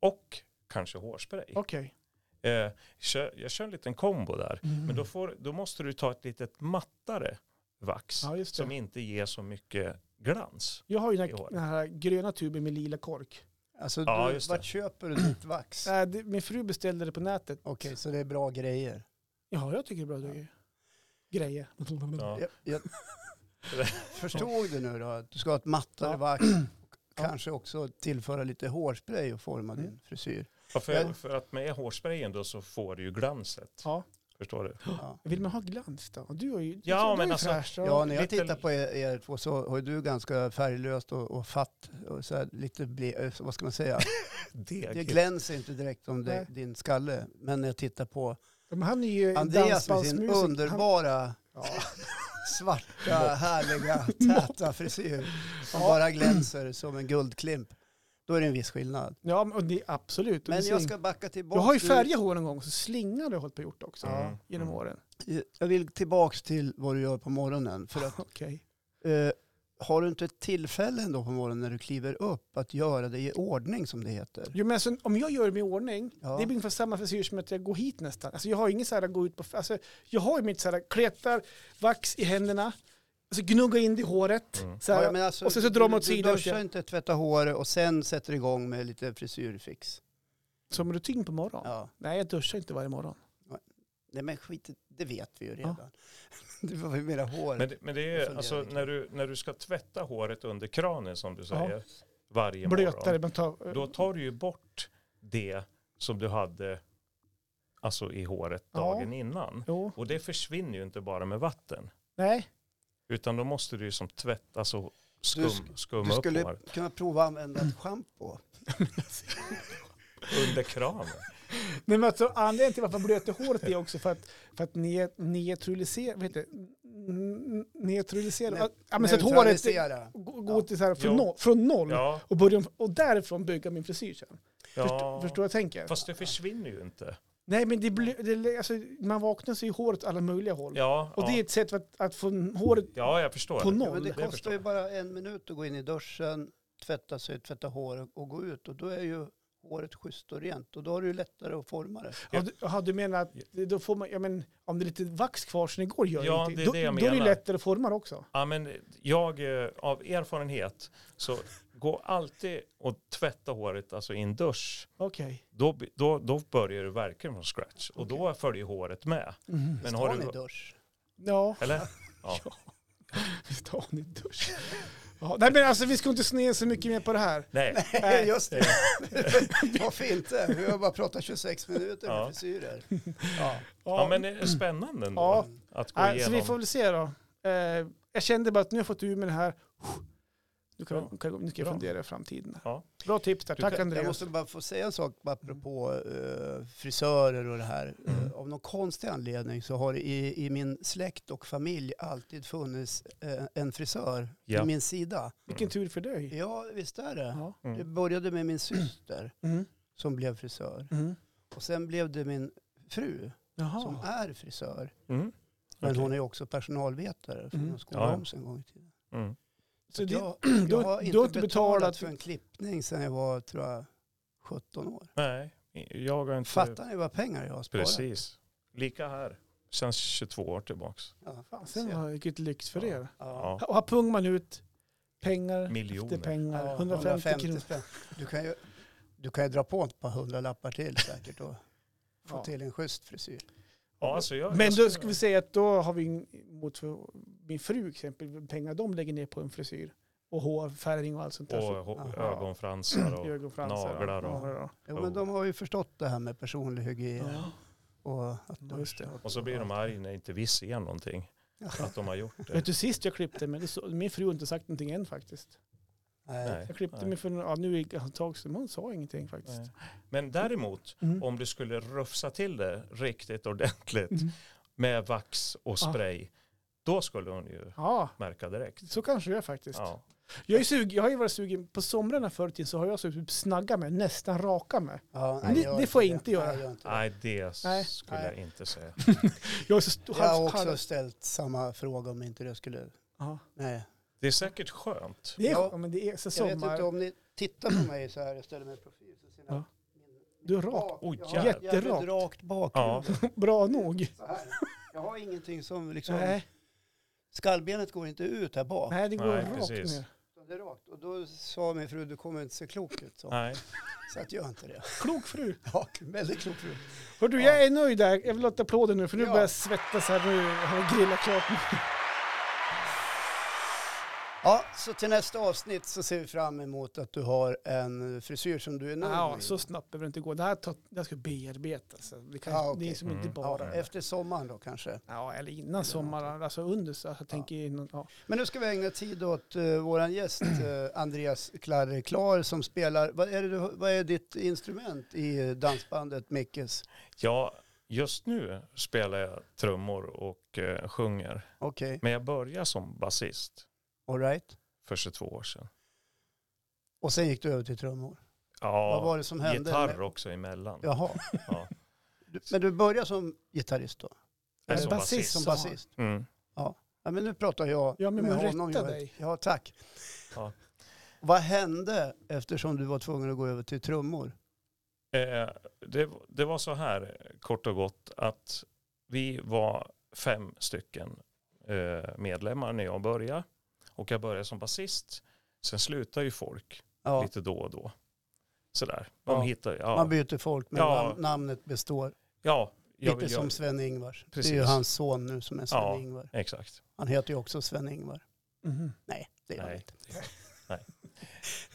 Speaker 1: och kanske hårspray.
Speaker 2: okej.
Speaker 1: Eh, kör, jag kör en liten kombo där.
Speaker 2: Mm.
Speaker 1: Men då, får, då måste du ta ett litet mattare vax
Speaker 2: Ja, just
Speaker 1: som
Speaker 2: det.
Speaker 1: inte ger så mycket glans.
Speaker 2: Jag har ju
Speaker 1: i
Speaker 2: den här,
Speaker 1: håret.
Speaker 2: den här gröna tuben med lila kork.
Speaker 3: Alltså,
Speaker 1: Ja,
Speaker 3: du,
Speaker 1: just det.
Speaker 3: vart köper du ditt vax? Okej,
Speaker 2: Nej, det, min fru beställde det på nätet.
Speaker 3: så det är bra grejer.
Speaker 2: Ja, jag tycker det är bra grejer. Grejer. Mm.
Speaker 1: Ja.
Speaker 3: Jag, jag, förstod du nu då att du ska ha ett mattare
Speaker 2: Ja. Mm.
Speaker 3: vax? Kanske också tillföra lite hårspray och forma din frisyr.
Speaker 1: Ja, för,
Speaker 3: Ja.
Speaker 1: för att med hårsprayen då så får du ju glanset.
Speaker 2: Ja.
Speaker 1: Förstår du?
Speaker 3: Ja.
Speaker 2: Vill man ha glans då? Du har ju,
Speaker 1: Ja,
Speaker 2: du är
Speaker 1: men
Speaker 2: ju
Speaker 1: alltså-
Speaker 2: fräsch. då.
Speaker 3: Ja, när jag
Speaker 1: lite-
Speaker 3: tittar på er, er två så har ju du ganska färglöst och, och fatt och så här lite, ble, eh, vad ska man säga?
Speaker 1: Deg.
Speaker 3: Det glänser inte direkt om det,
Speaker 2: Nej.
Speaker 3: din skalle. Men när jag tittar på
Speaker 2: Men han är ju
Speaker 3: Andreas med sin
Speaker 2: dansbandsmusik.
Speaker 3: underbara svarta, härliga, täta frisyr som bara glänser som en guldklimp. Då är det en viss skillnad.
Speaker 2: Han, ja, men det är absolut. Och
Speaker 3: Men
Speaker 2: det
Speaker 3: jag
Speaker 2: sling-
Speaker 3: ska backa tillbaka.
Speaker 2: jag har ju
Speaker 3: till-
Speaker 2: färgat hår en gång, så slingar har jag hållit på och gjort också.
Speaker 1: Mm.
Speaker 2: Genom
Speaker 1: Mm.
Speaker 2: åren.
Speaker 3: Jag vill tillbaka till vad du gör på morgonen. För att,
Speaker 2: Okej.
Speaker 3: eh, har du inte ett tillfälle ändå på morgonen när du kliver upp att göra det i ordning som det heter?
Speaker 2: Jo, men alltså, om jag gör det i ordning,
Speaker 3: Ja.
Speaker 2: det är ungefär samma frisyr som att jag går hit nästan. Alltså, jag har ingen så här gå ut på... Alltså, jag har ju mitt så här kletar, vax i händerna, alltså, gnugga in det i håret.
Speaker 1: Mm.
Speaker 2: Så här,
Speaker 3: Ja, men alltså,
Speaker 2: och sen så drar man åt
Speaker 3: du-
Speaker 2: sidan
Speaker 3: Du
Speaker 2: lite
Speaker 3: duschar
Speaker 2: grann.
Speaker 3: inte, tvättar håret och sen sätter du igång med lite frisyrfix.
Speaker 2: Som rutin på morgonen.
Speaker 3: Ja.
Speaker 2: Nej, jag duschar inte varje morgon.
Speaker 3: Nej men skit, i- det vet vi ju redan. Det var väl mera hår.
Speaker 1: Men, det- men det är
Speaker 3: Jag
Speaker 1: ju,
Speaker 3: funderar
Speaker 1: alltså
Speaker 3: lite.
Speaker 1: när du, när du ska tvätta håret under kranen som du säger, varje
Speaker 2: Blötare,
Speaker 1: morgon,
Speaker 2: man tar...
Speaker 1: då tar du ju bort det som du hade alltså i håret
Speaker 2: Ja.
Speaker 1: dagen innan.
Speaker 2: Jo,
Speaker 1: Och det försvinner ju inte bara med vatten,
Speaker 2: nej.
Speaker 1: utan då måste du ju som tvätta, alltså
Speaker 3: Du
Speaker 1: skum,
Speaker 3: sk-
Speaker 1: skumma
Speaker 3: du
Speaker 1: upp
Speaker 3: skulle
Speaker 1: håret
Speaker 3: kunna prova att använda ett schampo.
Speaker 1: under kranen.
Speaker 2: Nej, men alltså, anledningen till varför man blöter håret är också för att, för att ne- neutralisera... Vad heter det? N- Neutralisera...
Speaker 3: Ne-
Speaker 2: ja, men så att håret
Speaker 3: Neutralisera.
Speaker 2: går går till så här från,
Speaker 1: Ja.
Speaker 2: no, från noll
Speaker 1: Ja,
Speaker 2: och, börjar, och därifrån bygga min frisyr sen. Förstår,
Speaker 1: ja.
Speaker 2: förstår jag tänker?
Speaker 1: Fast det försvinner ju inte.
Speaker 2: Nej, men det blir, det, alltså, man vaknar så i håret åt alla möjliga håll.
Speaker 1: Ja,
Speaker 2: Och
Speaker 1: ja.
Speaker 2: det är ett sätt att, att få håret
Speaker 1: ja jag förstår.
Speaker 2: på
Speaker 3: Ja, men
Speaker 2: noll.
Speaker 3: det
Speaker 1: Det
Speaker 3: kostar
Speaker 1: förstår
Speaker 3: ju
Speaker 1: jag.
Speaker 3: bara en minut att gå in i duschen, tvätta sig, tvätta hår och, och gå ut. Och då är ju håret schysst och rent. Och då har du ju lättare att forma det.
Speaker 2: Ja, du, aha, du menar att det- då får man, ja, men, om det är lite vax kvar som igår gör
Speaker 1: Ja,
Speaker 2: ingenting.
Speaker 1: det är
Speaker 2: då,
Speaker 1: det jag
Speaker 2: då är det ju
Speaker 1: menar.
Speaker 2: lättare att forma det också.
Speaker 1: Ja, men jag eh, av erfarenhet så gå alltid och tvätta håret alltså i en dusch.
Speaker 2: Okej.
Speaker 1: Då, då, då börjar du verkligen från scratch och då följer håret med.
Speaker 2: Mm,
Speaker 1: Men har
Speaker 3: Har ni
Speaker 1: du,
Speaker 3: dusch?
Speaker 2: Ja,
Speaker 1: eller?
Speaker 2: visst har ni dusch. Ja, nej, men alltså vi ska inte snea så mycket mer på det här.
Speaker 1: Nej,
Speaker 3: Nej, just det. Varför inte? Vi har bara pratat 26 minuter med
Speaker 1: Ja.
Speaker 3: frisyrer. Ja.
Speaker 1: ja, men det är spännande ändå
Speaker 2: Ja.
Speaker 1: att gå
Speaker 2: nej, så vi får
Speaker 1: igenom.
Speaker 2: väl se då. Eh, jag kände bara att nu har jag fått ur med det här. Nu, kan,
Speaker 1: Bra.
Speaker 2: kan, nu ska jag
Speaker 1: Bra.
Speaker 2: fundera i framtiden.
Speaker 1: Ja.
Speaker 2: Bra tips där.
Speaker 1: Du
Speaker 2: Tack
Speaker 1: kan-
Speaker 2: Andreas.
Speaker 3: Jag måste bara få säga en sak bara apropå eh, frisörer och det här.
Speaker 2: Mm.
Speaker 3: Eh, av någon konstig anledning så har det i, i min släkt och familj alltid funnits eh, en frisör
Speaker 1: Ja.
Speaker 3: vid min sida.
Speaker 2: Mm. Vilken typ- tur för dig.
Speaker 3: Ja, visst är det.
Speaker 2: Ja.
Speaker 1: Mm.
Speaker 3: Det började med min syster
Speaker 2: Mm.
Speaker 3: som blev frisör.
Speaker 2: Mm.
Speaker 3: Och sen blev det min fru som
Speaker 2: Jaha.
Speaker 3: är frisör.
Speaker 1: Mm.
Speaker 3: Men
Speaker 1: Okej.
Speaker 3: hon är också personalvetare för
Speaker 2: Mm.
Speaker 3: hon skolade
Speaker 1: Ja.
Speaker 3: om sig en gång i tiden.
Speaker 1: Mm.
Speaker 2: Så
Speaker 3: att
Speaker 2: det-
Speaker 3: jag,
Speaker 2: du
Speaker 3: jag
Speaker 2: har-
Speaker 3: har
Speaker 2: du
Speaker 3: inte
Speaker 2: har inte
Speaker 3: betalat,
Speaker 2: betalat-
Speaker 3: för en klippning sedan jag var, tror jag, 17 år.
Speaker 1: Nej, jag har inte...
Speaker 3: Fattar ni vad pengar jag har sparat?
Speaker 1: Precis. Lika här. Känns 22 år tillbaks.
Speaker 3: Ja,
Speaker 2: Fan, sen var det vilket lyx för
Speaker 1: Ja.
Speaker 2: er.
Speaker 1: Ja.
Speaker 2: Och här pungar man ut pengar
Speaker 1: Miljoner.
Speaker 2: efter pengar.
Speaker 3: Ja,
Speaker 2: 150, kronor.
Speaker 3: spänn. Du kan, ju, du kan ju dra på ett par hundra lappar till säkert och få
Speaker 2: Ja.
Speaker 3: till en schysst frisyr.
Speaker 1: Ja, alltså jag,
Speaker 2: Men
Speaker 1: jag
Speaker 2: då ska vi säga att då har vi en- mot för min fru exempel, pengar de lägger ner på en frisyr och hårfärgning och allt sånt där.
Speaker 1: Och
Speaker 2: så
Speaker 1: hå-
Speaker 3: Jaha.
Speaker 1: ögonfransar och...
Speaker 2: ögonfransar.
Speaker 1: naglar och-
Speaker 2: Ja,
Speaker 3: Jo, men de har ju förstått det här med personlig hygien
Speaker 2: ja.
Speaker 3: och att
Speaker 2: Ja, just det.
Speaker 1: Och så blir de arga när inte vi ser någonting.
Speaker 3: Ja.
Speaker 1: Att de har gjort det.
Speaker 2: Vet du sist jag klippte mig, det så- min fru har inte sagt någonting än faktiskt.
Speaker 3: Nej.
Speaker 1: Nej.
Speaker 2: Jag klippte
Speaker 1: nej.
Speaker 2: mig för ja, nu gick ett tag sedan, men hon sa ingenting faktiskt.
Speaker 1: Nej. Men däremot,
Speaker 2: Mm.
Speaker 1: om du skulle rufsa till det riktigt ordentligt
Speaker 2: Mm.
Speaker 1: med vax och
Speaker 2: Ja.
Speaker 1: spray, då skulle hon ju
Speaker 2: Ja,
Speaker 1: märka direkt.
Speaker 2: så kanske jag faktiskt.
Speaker 1: Ja.
Speaker 2: Jag, är sug, jag har ju varit sugen, på somrarna förr i tiden så har jag sugit typ snagga mig, nästan raka mig.
Speaker 3: Ja,
Speaker 2: Det-
Speaker 3: gör
Speaker 2: det får jag inte
Speaker 3: Nej,
Speaker 2: göra.
Speaker 3: gör inte det.
Speaker 1: Nej, det
Speaker 2: Nej.
Speaker 1: skulle
Speaker 3: Nej.
Speaker 1: jag inte säga.
Speaker 2: Jag är så stor,
Speaker 3: Jag har
Speaker 2: halvt
Speaker 3: också
Speaker 2: halv.
Speaker 3: ställt samma fråga om inte det skulle...
Speaker 2: Ja.
Speaker 3: Nej.
Speaker 1: Det är säkert skönt.
Speaker 2: Det är,
Speaker 3: Ja.
Speaker 2: ja, men det är så
Speaker 3: Jag vet
Speaker 2: sommar.
Speaker 3: inte om ni tittar på mig så här, jag ställer mig i profil. Så ser ni
Speaker 2: Ja.
Speaker 3: att min-
Speaker 2: Du är rak.
Speaker 3: bak-
Speaker 1: Oj,
Speaker 3: jag har
Speaker 2: jätterakt.
Speaker 3: jävligt rakt bak.
Speaker 1: Ja.
Speaker 2: Bra nog.
Speaker 3: Så här. Jag har ingenting som liksom...
Speaker 2: Nej,
Speaker 3: Skallbenet går inte ut här bak.
Speaker 2: nej, det går
Speaker 1: Nej,
Speaker 2: rakt
Speaker 1: precis.
Speaker 2: ner.
Speaker 3: Så det rakt. Och då sa min fru, du kommer inte se klok ut. Så,
Speaker 1: Nej.
Speaker 3: så att gör inte det.
Speaker 2: Klok fru.
Speaker 3: Ja, väldigt klok fru.
Speaker 2: Hör du, jag är nöjd där. Jag vill ha ett applåder nu för nu
Speaker 3: Ja.
Speaker 2: börjar jag svettas här. Nu har jag grillat klart.
Speaker 3: Ja, så till nästa avsnitt så ser vi fram emot att du har en frisyr som du är nöjd
Speaker 2: Ja,
Speaker 3: med.
Speaker 2: så snabbt behöver det inte gå. Det här, tar, det här ska bearbetas. Det, kan,
Speaker 3: Ja, okej.
Speaker 2: det är som inte
Speaker 1: Mm.
Speaker 3: ja,
Speaker 2: bara... Ja,
Speaker 3: efter sommaren då kanske.
Speaker 2: eller innan sommaren. Alltså under. Så jag tänker innan, ja.
Speaker 3: Men nu ska vi ägna tid åt uh, vår gäst eh, Andreas Klarre Klar som spelar. Vad är, det, du- vad är ditt instrument i eh, dansbandet Mickes?
Speaker 1: Ja, just nu spelar jag trummor och eh, sjunger.
Speaker 3: Okej,
Speaker 1: Men jag började som basist
Speaker 3: all right.
Speaker 1: för 22 år sedan.
Speaker 3: Och sen gick du över till trummor. Vad var
Speaker 1: Ja,
Speaker 3: det som hände?
Speaker 1: gitarr också emellan.
Speaker 3: Jaha.
Speaker 1: Ja.
Speaker 3: Du- Men du började som gitarrist då?
Speaker 1: Nej,
Speaker 2: Eller
Speaker 1: som
Speaker 2: basist
Speaker 1: basist.
Speaker 3: Som
Speaker 2: sa han.
Speaker 3: basist?
Speaker 1: Mm.
Speaker 3: Ja, men nu pratar jag
Speaker 2: Ja, men
Speaker 3: med
Speaker 2: man
Speaker 3: honom.
Speaker 2: rättar
Speaker 3: Joel.
Speaker 2: dig.
Speaker 3: Ja, tack.
Speaker 1: Ja.
Speaker 3: Vad hände eftersom du var tvungen att gå över till trummor?
Speaker 1: Eh, det, det var så här kort och gott att vi var fem stycken eh, medlemmar när jag började. Och jag började som basist. Sen slutar ju folk
Speaker 3: Ja,
Speaker 1: lite då och då. Sådär. De
Speaker 3: Ja.
Speaker 1: hittar, ja.
Speaker 3: Man byter folk, men
Speaker 1: Ja.
Speaker 3: nam- namnet består.
Speaker 1: ja, jag
Speaker 3: Lite
Speaker 1: vill göra-
Speaker 3: som Sven-Ingvars. Det är ju
Speaker 1: Precis.
Speaker 3: hans son nu som är
Speaker 1: Ja.
Speaker 3: Sven-Ingvar.
Speaker 1: Exakt.
Speaker 3: Han heter ju också Sven-Ingvar.
Speaker 2: Mhm.
Speaker 3: Nej, det gör han
Speaker 1: Nej.
Speaker 3: inte.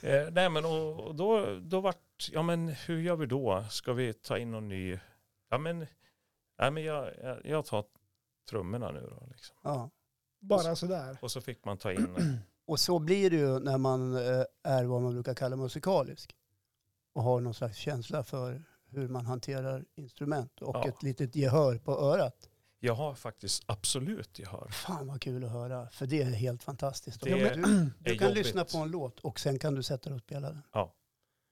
Speaker 1: Eh, nej men och, och då, då vart, ja men hur gör vi då? Ska vi ta in någon ny? Ja men, nej, men jag, jag, jag tar trummorna nu då. Liksom.
Speaker 3: Ja.
Speaker 2: Bara sådär.
Speaker 1: Och så fick man ta in,
Speaker 3: Och så blir det ju när man eh, är vad man brukar kalla musikalisk. Och har någon slags känsla för hur man hanterar instrument och
Speaker 1: Ja.
Speaker 3: ett litet gehör på örat.
Speaker 1: jag har faktiskt absolut gehör.
Speaker 3: Fan vad kul att höra, för det är helt fantastiskt.
Speaker 1: Det
Speaker 3: Ja, men
Speaker 1: är
Speaker 3: du du
Speaker 1: är
Speaker 3: kan
Speaker 1: jobbigt.
Speaker 3: lyssna på en låt och sen kan du sätta dig och spela den.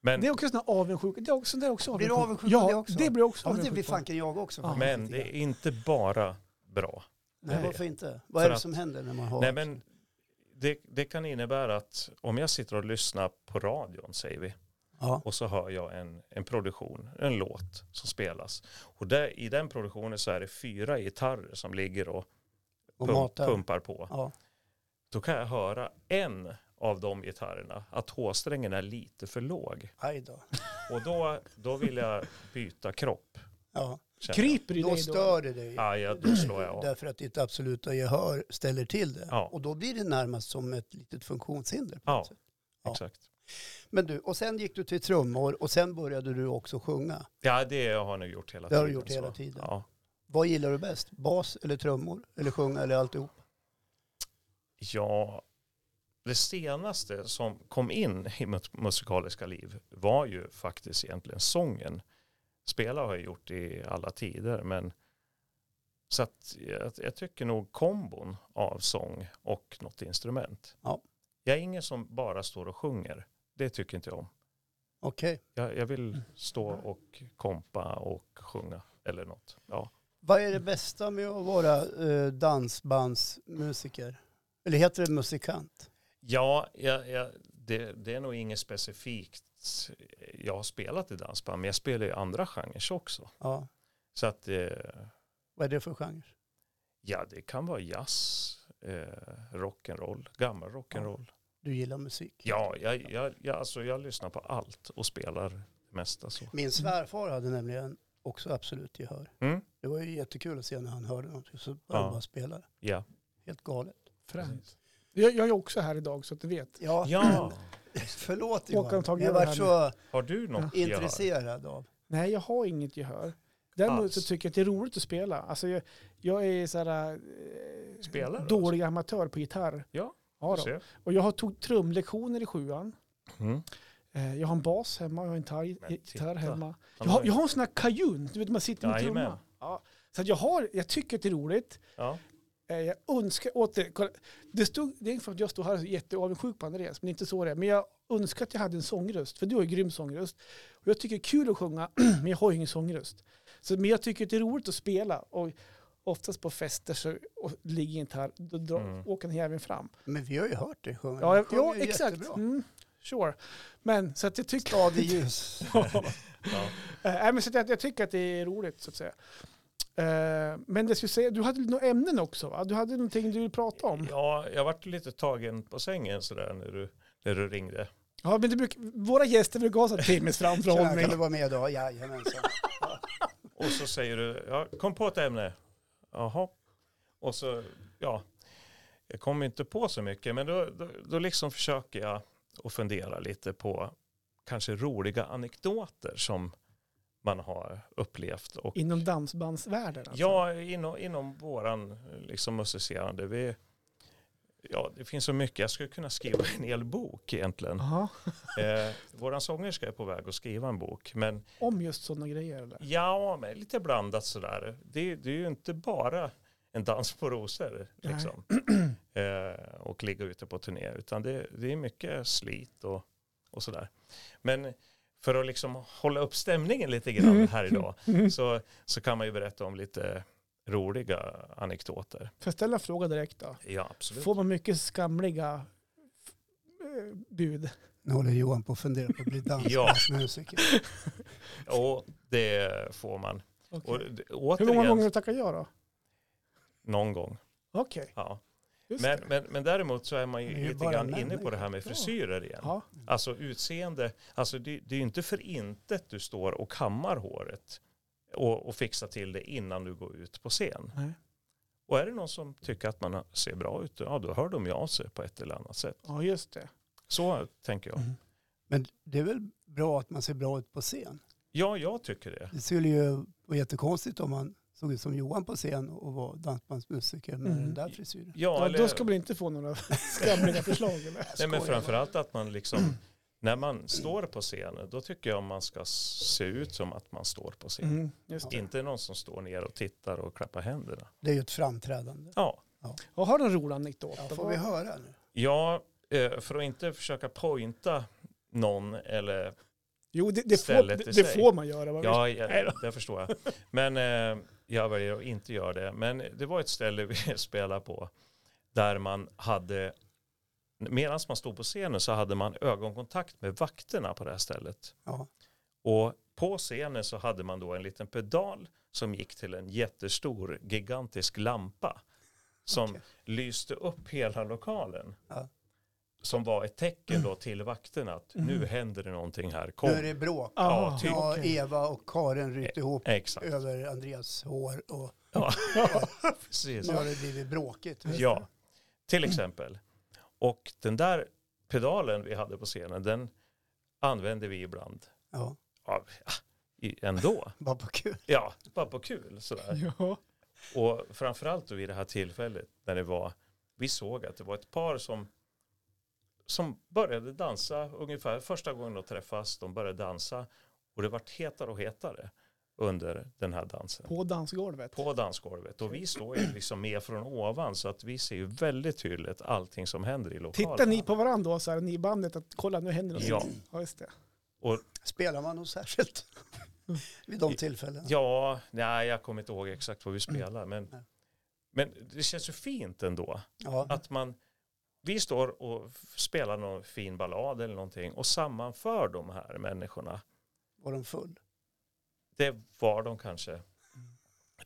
Speaker 1: Men,
Speaker 2: Det är också sån här avundsjuka. Det är också, det är också
Speaker 3: Blir du
Speaker 2: avundsjuk.
Speaker 3: avundsjuk
Speaker 2: Ja,
Speaker 3: på det också?
Speaker 2: det blir jag också
Speaker 3: Ja, men det
Speaker 2: avundsjuk
Speaker 3: blir
Speaker 2: på.
Speaker 3: fanken jag också.
Speaker 2: Ja.
Speaker 1: men det är inte bara bra.
Speaker 3: Nej,
Speaker 1: Nej.
Speaker 3: varför inte? Vad är
Speaker 1: För
Speaker 3: det
Speaker 1: att-
Speaker 3: som händer när man har...
Speaker 1: Nej, men det, det kan innebära att om jag sitter och lyssnar på radion, säger vi,
Speaker 3: ja.
Speaker 1: och så hör jag en, en produktion, en låt som spelas. Och där, i den produktionen så är det fyra gitarrer som ligger och,
Speaker 3: och
Speaker 1: pump,
Speaker 3: matar.
Speaker 1: pumpar på.
Speaker 3: Ja.
Speaker 1: Då kan jag höra en av de gitarrerna, att H-strängen är lite för låg.
Speaker 3: Aj då.
Speaker 1: Och då, då vill jag byta kropp.
Speaker 3: Ja.
Speaker 1: känner jag.
Speaker 2: Kryper i
Speaker 3: Då
Speaker 2: dig då?
Speaker 3: stör det dig.
Speaker 1: Ja, ja, då slår jag av.
Speaker 3: Därför att ditt absoluta gehör ställer till det.
Speaker 1: Ja.
Speaker 3: Och då blir det närmast som ett litet funktionshinder. På
Speaker 1: Ja.
Speaker 3: något sätt. Ja.
Speaker 1: Exakt.
Speaker 3: Men du, och sen gick du till trummor och sen började du också sjunga.
Speaker 1: Ja, det har jag nog gjort hela
Speaker 3: Det
Speaker 1: tiden.
Speaker 3: har du gjort
Speaker 1: så.
Speaker 3: hela tiden.
Speaker 1: Ja.
Speaker 3: Vad gillar du bäst? Bas eller trummor? Eller sjunga eller alltihop?
Speaker 1: Ja, det senaste som kom in i mitt musikaliska liv var ju faktiskt egentligen sången. Spela har jag gjort i alla tider, men så att jag, jag tycker nog kombon av sång och något instrument.
Speaker 3: Ja.
Speaker 1: Jag är ingen som bara står och sjunger. Det tycker inte jag om.
Speaker 3: Okej.
Speaker 1: Jag, jag
Speaker 3: Mm.
Speaker 1: vill stå och kompa och sjunga eller något. Ja.
Speaker 3: Vad är det bästa med att vara eh, dansbandsmusiker? Eller heter det musikant?
Speaker 1: Ja, jag, jag, det, det är nog inget specifikt. Jag har spelat i dansband, men jag spelar i andra genrer också.
Speaker 3: Ja.
Speaker 1: Så att, eh,
Speaker 3: Vad är det för genre?
Speaker 1: ja, det kan vara jazz, eh, rock'n'roll, gammal rock'n'roll.
Speaker 3: Du gillar musik?
Speaker 1: Ja, jag, jag, jag, alltså, jag lyssnar på allt och spelar det mesta så.
Speaker 3: Min svärfar hade nämligen också absolut gehör.
Speaker 1: Mm?
Speaker 3: Det var ju jättekul att se när han hörde någonting så
Speaker 1: Ja.
Speaker 3: började han bara spela.
Speaker 1: Ja.
Speaker 3: Helt galet.
Speaker 2: Fränt. Jag, jag är också här idag så att du vet.
Speaker 3: Ja,
Speaker 1: ja,
Speaker 3: förlåt
Speaker 2: Håkan
Speaker 3: Johan.
Speaker 2: Tage
Speaker 3: Jag
Speaker 2: gör
Speaker 3: var
Speaker 2: det
Speaker 3: så
Speaker 1: har du något gehör?
Speaker 3: intresserad av.
Speaker 2: Nej, jag har inget gehör. Däremot så
Speaker 1: Alls.
Speaker 2: tycker jag att det är roligt att spela. Alltså jag, jag är så här, eh,
Speaker 1: Spelar du
Speaker 2: dålig amatör på gitarr.
Speaker 1: alltså? Ja,
Speaker 2: ja
Speaker 1: Du
Speaker 2: då.
Speaker 1: ser.
Speaker 2: Och jag har tog trumlektioner i sjuan.
Speaker 1: Mm.
Speaker 2: Eh, Jag har en bas hemma, jag har en tar-
Speaker 1: Men
Speaker 2: gitarr
Speaker 1: titta.
Speaker 2: hemma. Jag
Speaker 1: Han
Speaker 2: har,
Speaker 1: har-
Speaker 2: jag har en sån här kajun, du vet man sitter med
Speaker 1: Jajamän.
Speaker 2: trumma. Ja. Så att jag, har, jag tycker att det är roligt.
Speaker 1: Ja.
Speaker 2: Eh, Jag önskar åter, kolla, det, stod, det är för att jag står här och är jätteavundsjuk på Andreas, men det är inte så det är. Men jag önskar att jag hade en sångröst, för du har ju grym sångröst. Och jag tycker det är kul att sjunga, men jag har ju ingen sångröst. Så, men jag tycker att det är roligt att spela. Och oftast på fester så och ligger gitarr, då drar,
Speaker 1: Mm.
Speaker 2: åker den jäveln fram.
Speaker 3: Men vi har ju hört dig sjunga.
Speaker 2: Ja,
Speaker 3: Du sjunger
Speaker 2: ja
Speaker 3: ju
Speaker 2: exakt.
Speaker 3: jättebra.
Speaker 2: Mm, sure. Men så att jag tycker...
Speaker 3: Stadig ljus.
Speaker 1: Ja.
Speaker 2: Eh, Nej, men så att jag, jag tycker att det är roligt så att säga. Eh, men det skulle jag säga, du hade några ämnen också va? Du hade någonting du ville prata om.
Speaker 1: Ja, jag vart lite tagen på sängen sådär när du När du ringde.
Speaker 2: Ja, men det bruk, våra gäster brukar ha så här timmes
Speaker 3: Tjena,
Speaker 2: framförhållning.
Speaker 3: kan du vara med idag? Jajamensan.
Speaker 1: Och så säger du, ja, kom på ett ämne. Jaha. Och så, ja, jag kommer inte på så mycket, men då, då, då liksom försöker jag att fundera lite på kanske roliga anekdoter som man har upplevt. Och
Speaker 2: Inom dansbandsvärlden alltså.
Speaker 1: Ja, inom, inom våran liksom, musicerande. Vi, ja, det finns så mycket. Jag skulle kunna skriva en hel bok egentligen.
Speaker 2: Aha.
Speaker 1: Eh, våran sångerska är på väg att skriva en bok. Men
Speaker 2: Om just sådana grejer eller?
Speaker 1: ja, men lite blandat sådär. Det, det är ju inte bara en dans på rosor
Speaker 2: Nej.
Speaker 1: liksom. eh, och ligga ute på turné. Utan det, det är mycket slit och, och sådär. Men för att liksom hålla upp stämningen lite grann här idag
Speaker 2: Mm.
Speaker 1: så, så kan man ju berätta om lite roliga anekdoter.
Speaker 2: Får jag ställa en fråga direkt då?
Speaker 1: Ja, absolut.
Speaker 2: Får man mycket skamliga f- eh, bud?
Speaker 3: Nu håller Johan på att fundera på att bli dansbandsmusiker.
Speaker 1: Och det får man.
Speaker 2: Okej.
Speaker 1: Och det-
Speaker 2: Hur många gånger har
Speaker 1: återigen,
Speaker 2: du tackat ja då?
Speaker 1: någon gång.
Speaker 2: Okej,
Speaker 1: Ja.
Speaker 2: just
Speaker 1: Men,
Speaker 2: det.
Speaker 1: men, men däremot så är man ju
Speaker 3: Det är ju
Speaker 1: lite
Speaker 3: bara
Speaker 1: grann
Speaker 3: män,
Speaker 1: inne på det här med
Speaker 2: ja.
Speaker 1: frisyrer igen.
Speaker 2: ja.
Speaker 1: Alltså utseende, alltså det, det är ju inte för intet du står och kammar håret och, och fixar till det innan du går ut på scen.
Speaker 2: Nej.
Speaker 1: Och är det någon som tycker att man ser bra ut, ja då hör de ju av sig på ett eller annat sätt.
Speaker 2: ja, just det.
Speaker 1: Så tänker jag.
Speaker 2: Mm.
Speaker 3: Men det är väl bra att man ser bra ut på scen?
Speaker 1: Ja, jag tycker det.
Speaker 3: Det skulle ju vara jättekonstigt om man såg ut som Johan på scen och var dansbandsmusiker med
Speaker 2: Mm.
Speaker 3: den där frisyren.
Speaker 1: Ja,
Speaker 2: Ja,
Speaker 1: eller,
Speaker 2: Då ska man inte få några skamliga förslag eller?
Speaker 1: nej, men
Speaker 3: Skojar.
Speaker 1: framförallt att man liksom, när man står på scenen, då tycker jag man ska se ut som att man står på scen.
Speaker 2: Mm, just det.
Speaker 1: Inte någon som står ner och tittar och klappar händerna.
Speaker 3: Det är ju ett framträdande.
Speaker 1: Ja,
Speaker 2: Jag har en rolig anekdot.
Speaker 3: Ja, får vi höra nu?
Speaker 1: ja eh, för att inte försöka pointa någon eller,
Speaker 2: Jo, det, det, får,
Speaker 1: Stället i
Speaker 2: det, det
Speaker 1: sig.
Speaker 2: får man göra. vad vi-
Speaker 1: ja, jag, det förstår jag. Men eh, jag väljer att inte göra det. Men det var ett ställe vi spelade på där man hade, medan man stod på scenen så hade man ögonkontakt med vakterna på det här stället.
Speaker 3: Ja.
Speaker 1: Och på scenen så hade man då en liten pedal som gick till en jättestor, gigantisk lampa som
Speaker 3: Okej.
Speaker 1: lyste upp hela lokalen.
Speaker 3: Ja. Mm.
Speaker 1: Som var ett tecken då till vakterna att nu händer det någonting här. Kom.
Speaker 3: Nu är det bråk.
Speaker 2: Aha,
Speaker 1: ja, typ.
Speaker 3: Ja,
Speaker 2: okej.
Speaker 3: Eva och Karin ryter ihop
Speaker 1: Exakt.
Speaker 3: över Andreas hår och
Speaker 1: Ja, precis.
Speaker 3: nu har det blivit bråkigt.
Speaker 1: Ja, till exempel. Och den där pedalen vi hade på scenen, den använde vi ibland.
Speaker 3: Ja,
Speaker 1: Ja, i- ändå.
Speaker 3: bara på kul.
Speaker 1: Ja, bara på kul sådär.
Speaker 2: Ja.
Speaker 1: Och framförallt då vid det här tillfället när det var, vi såg att det var ett par som, som började dansa ungefär första gången de träffas, de började dansa och det vart hetare och hetare under den här dansen
Speaker 2: På dansgolvet.
Speaker 1: på dansgolvet. Och vi står ju liksom med från ovan så att vi ser ju väldigt tydligt allting som händer i lokalen.
Speaker 2: Tittar ni på varandra då, så här, ni i bandet, att kolla nu händer något?
Speaker 1: Ja.
Speaker 2: ja just det.
Speaker 3: Spelar man nog särskilt vid de tillfällena?
Speaker 1: Ja, nej jag kommer inte ihåg exakt vad vi spelar men, men det känns ju fint ändå.
Speaker 3: Ja.
Speaker 1: att man, vi står och spelar någon fin ballad eller någonting och sammanför de här människorna.
Speaker 3: Var de full?
Speaker 1: Det var de
Speaker 3: Mm.
Speaker 1: kanske.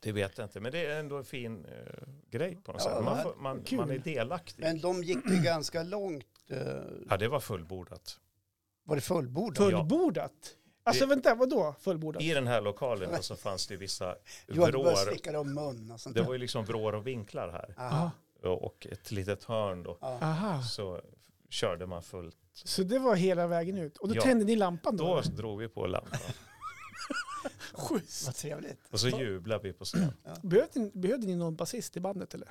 Speaker 1: Det vet jag inte, men det är ändå en fin eh, grej på något
Speaker 3: Ja,
Speaker 1: sätt.
Speaker 3: det
Speaker 1: Man,
Speaker 3: här-
Speaker 1: får, man,
Speaker 2: kul.
Speaker 1: man är delaktig.
Speaker 3: Men de gick ju ganska långt. eh,
Speaker 1: ja, det var fullbordat.
Speaker 3: Var det fullbordat?
Speaker 2: Fullbordat? Alltså
Speaker 1: Det-
Speaker 2: vänta, vadå fullbordat?
Speaker 1: I den här lokalen då, så fanns det vissa
Speaker 3: Johan, du började
Speaker 1: vrår.
Speaker 3: slicka dig om mun och sånt
Speaker 1: Det
Speaker 3: där.
Speaker 1: var ju liksom vrår och vinklar här.
Speaker 3: Aha.
Speaker 1: Och ett litet hörn då.
Speaker 3: Ja.
Speaker 2: Aha,
Speaker 1: Så körde man fullt.
Speaker 2: så det var hela vägen ut. Och då
Speaker 1: Ja.
Speaker 2: tände ni lampan då?
Speaker 1: Då drog vi på lampan.
Speaker 2: Schysst.
Speaker 3: Vad trevligt.
Speaker 1: Och så jublade vi på scen.
Speaker 2: Behövde, ni- behövde ni någon basist i bandet eller?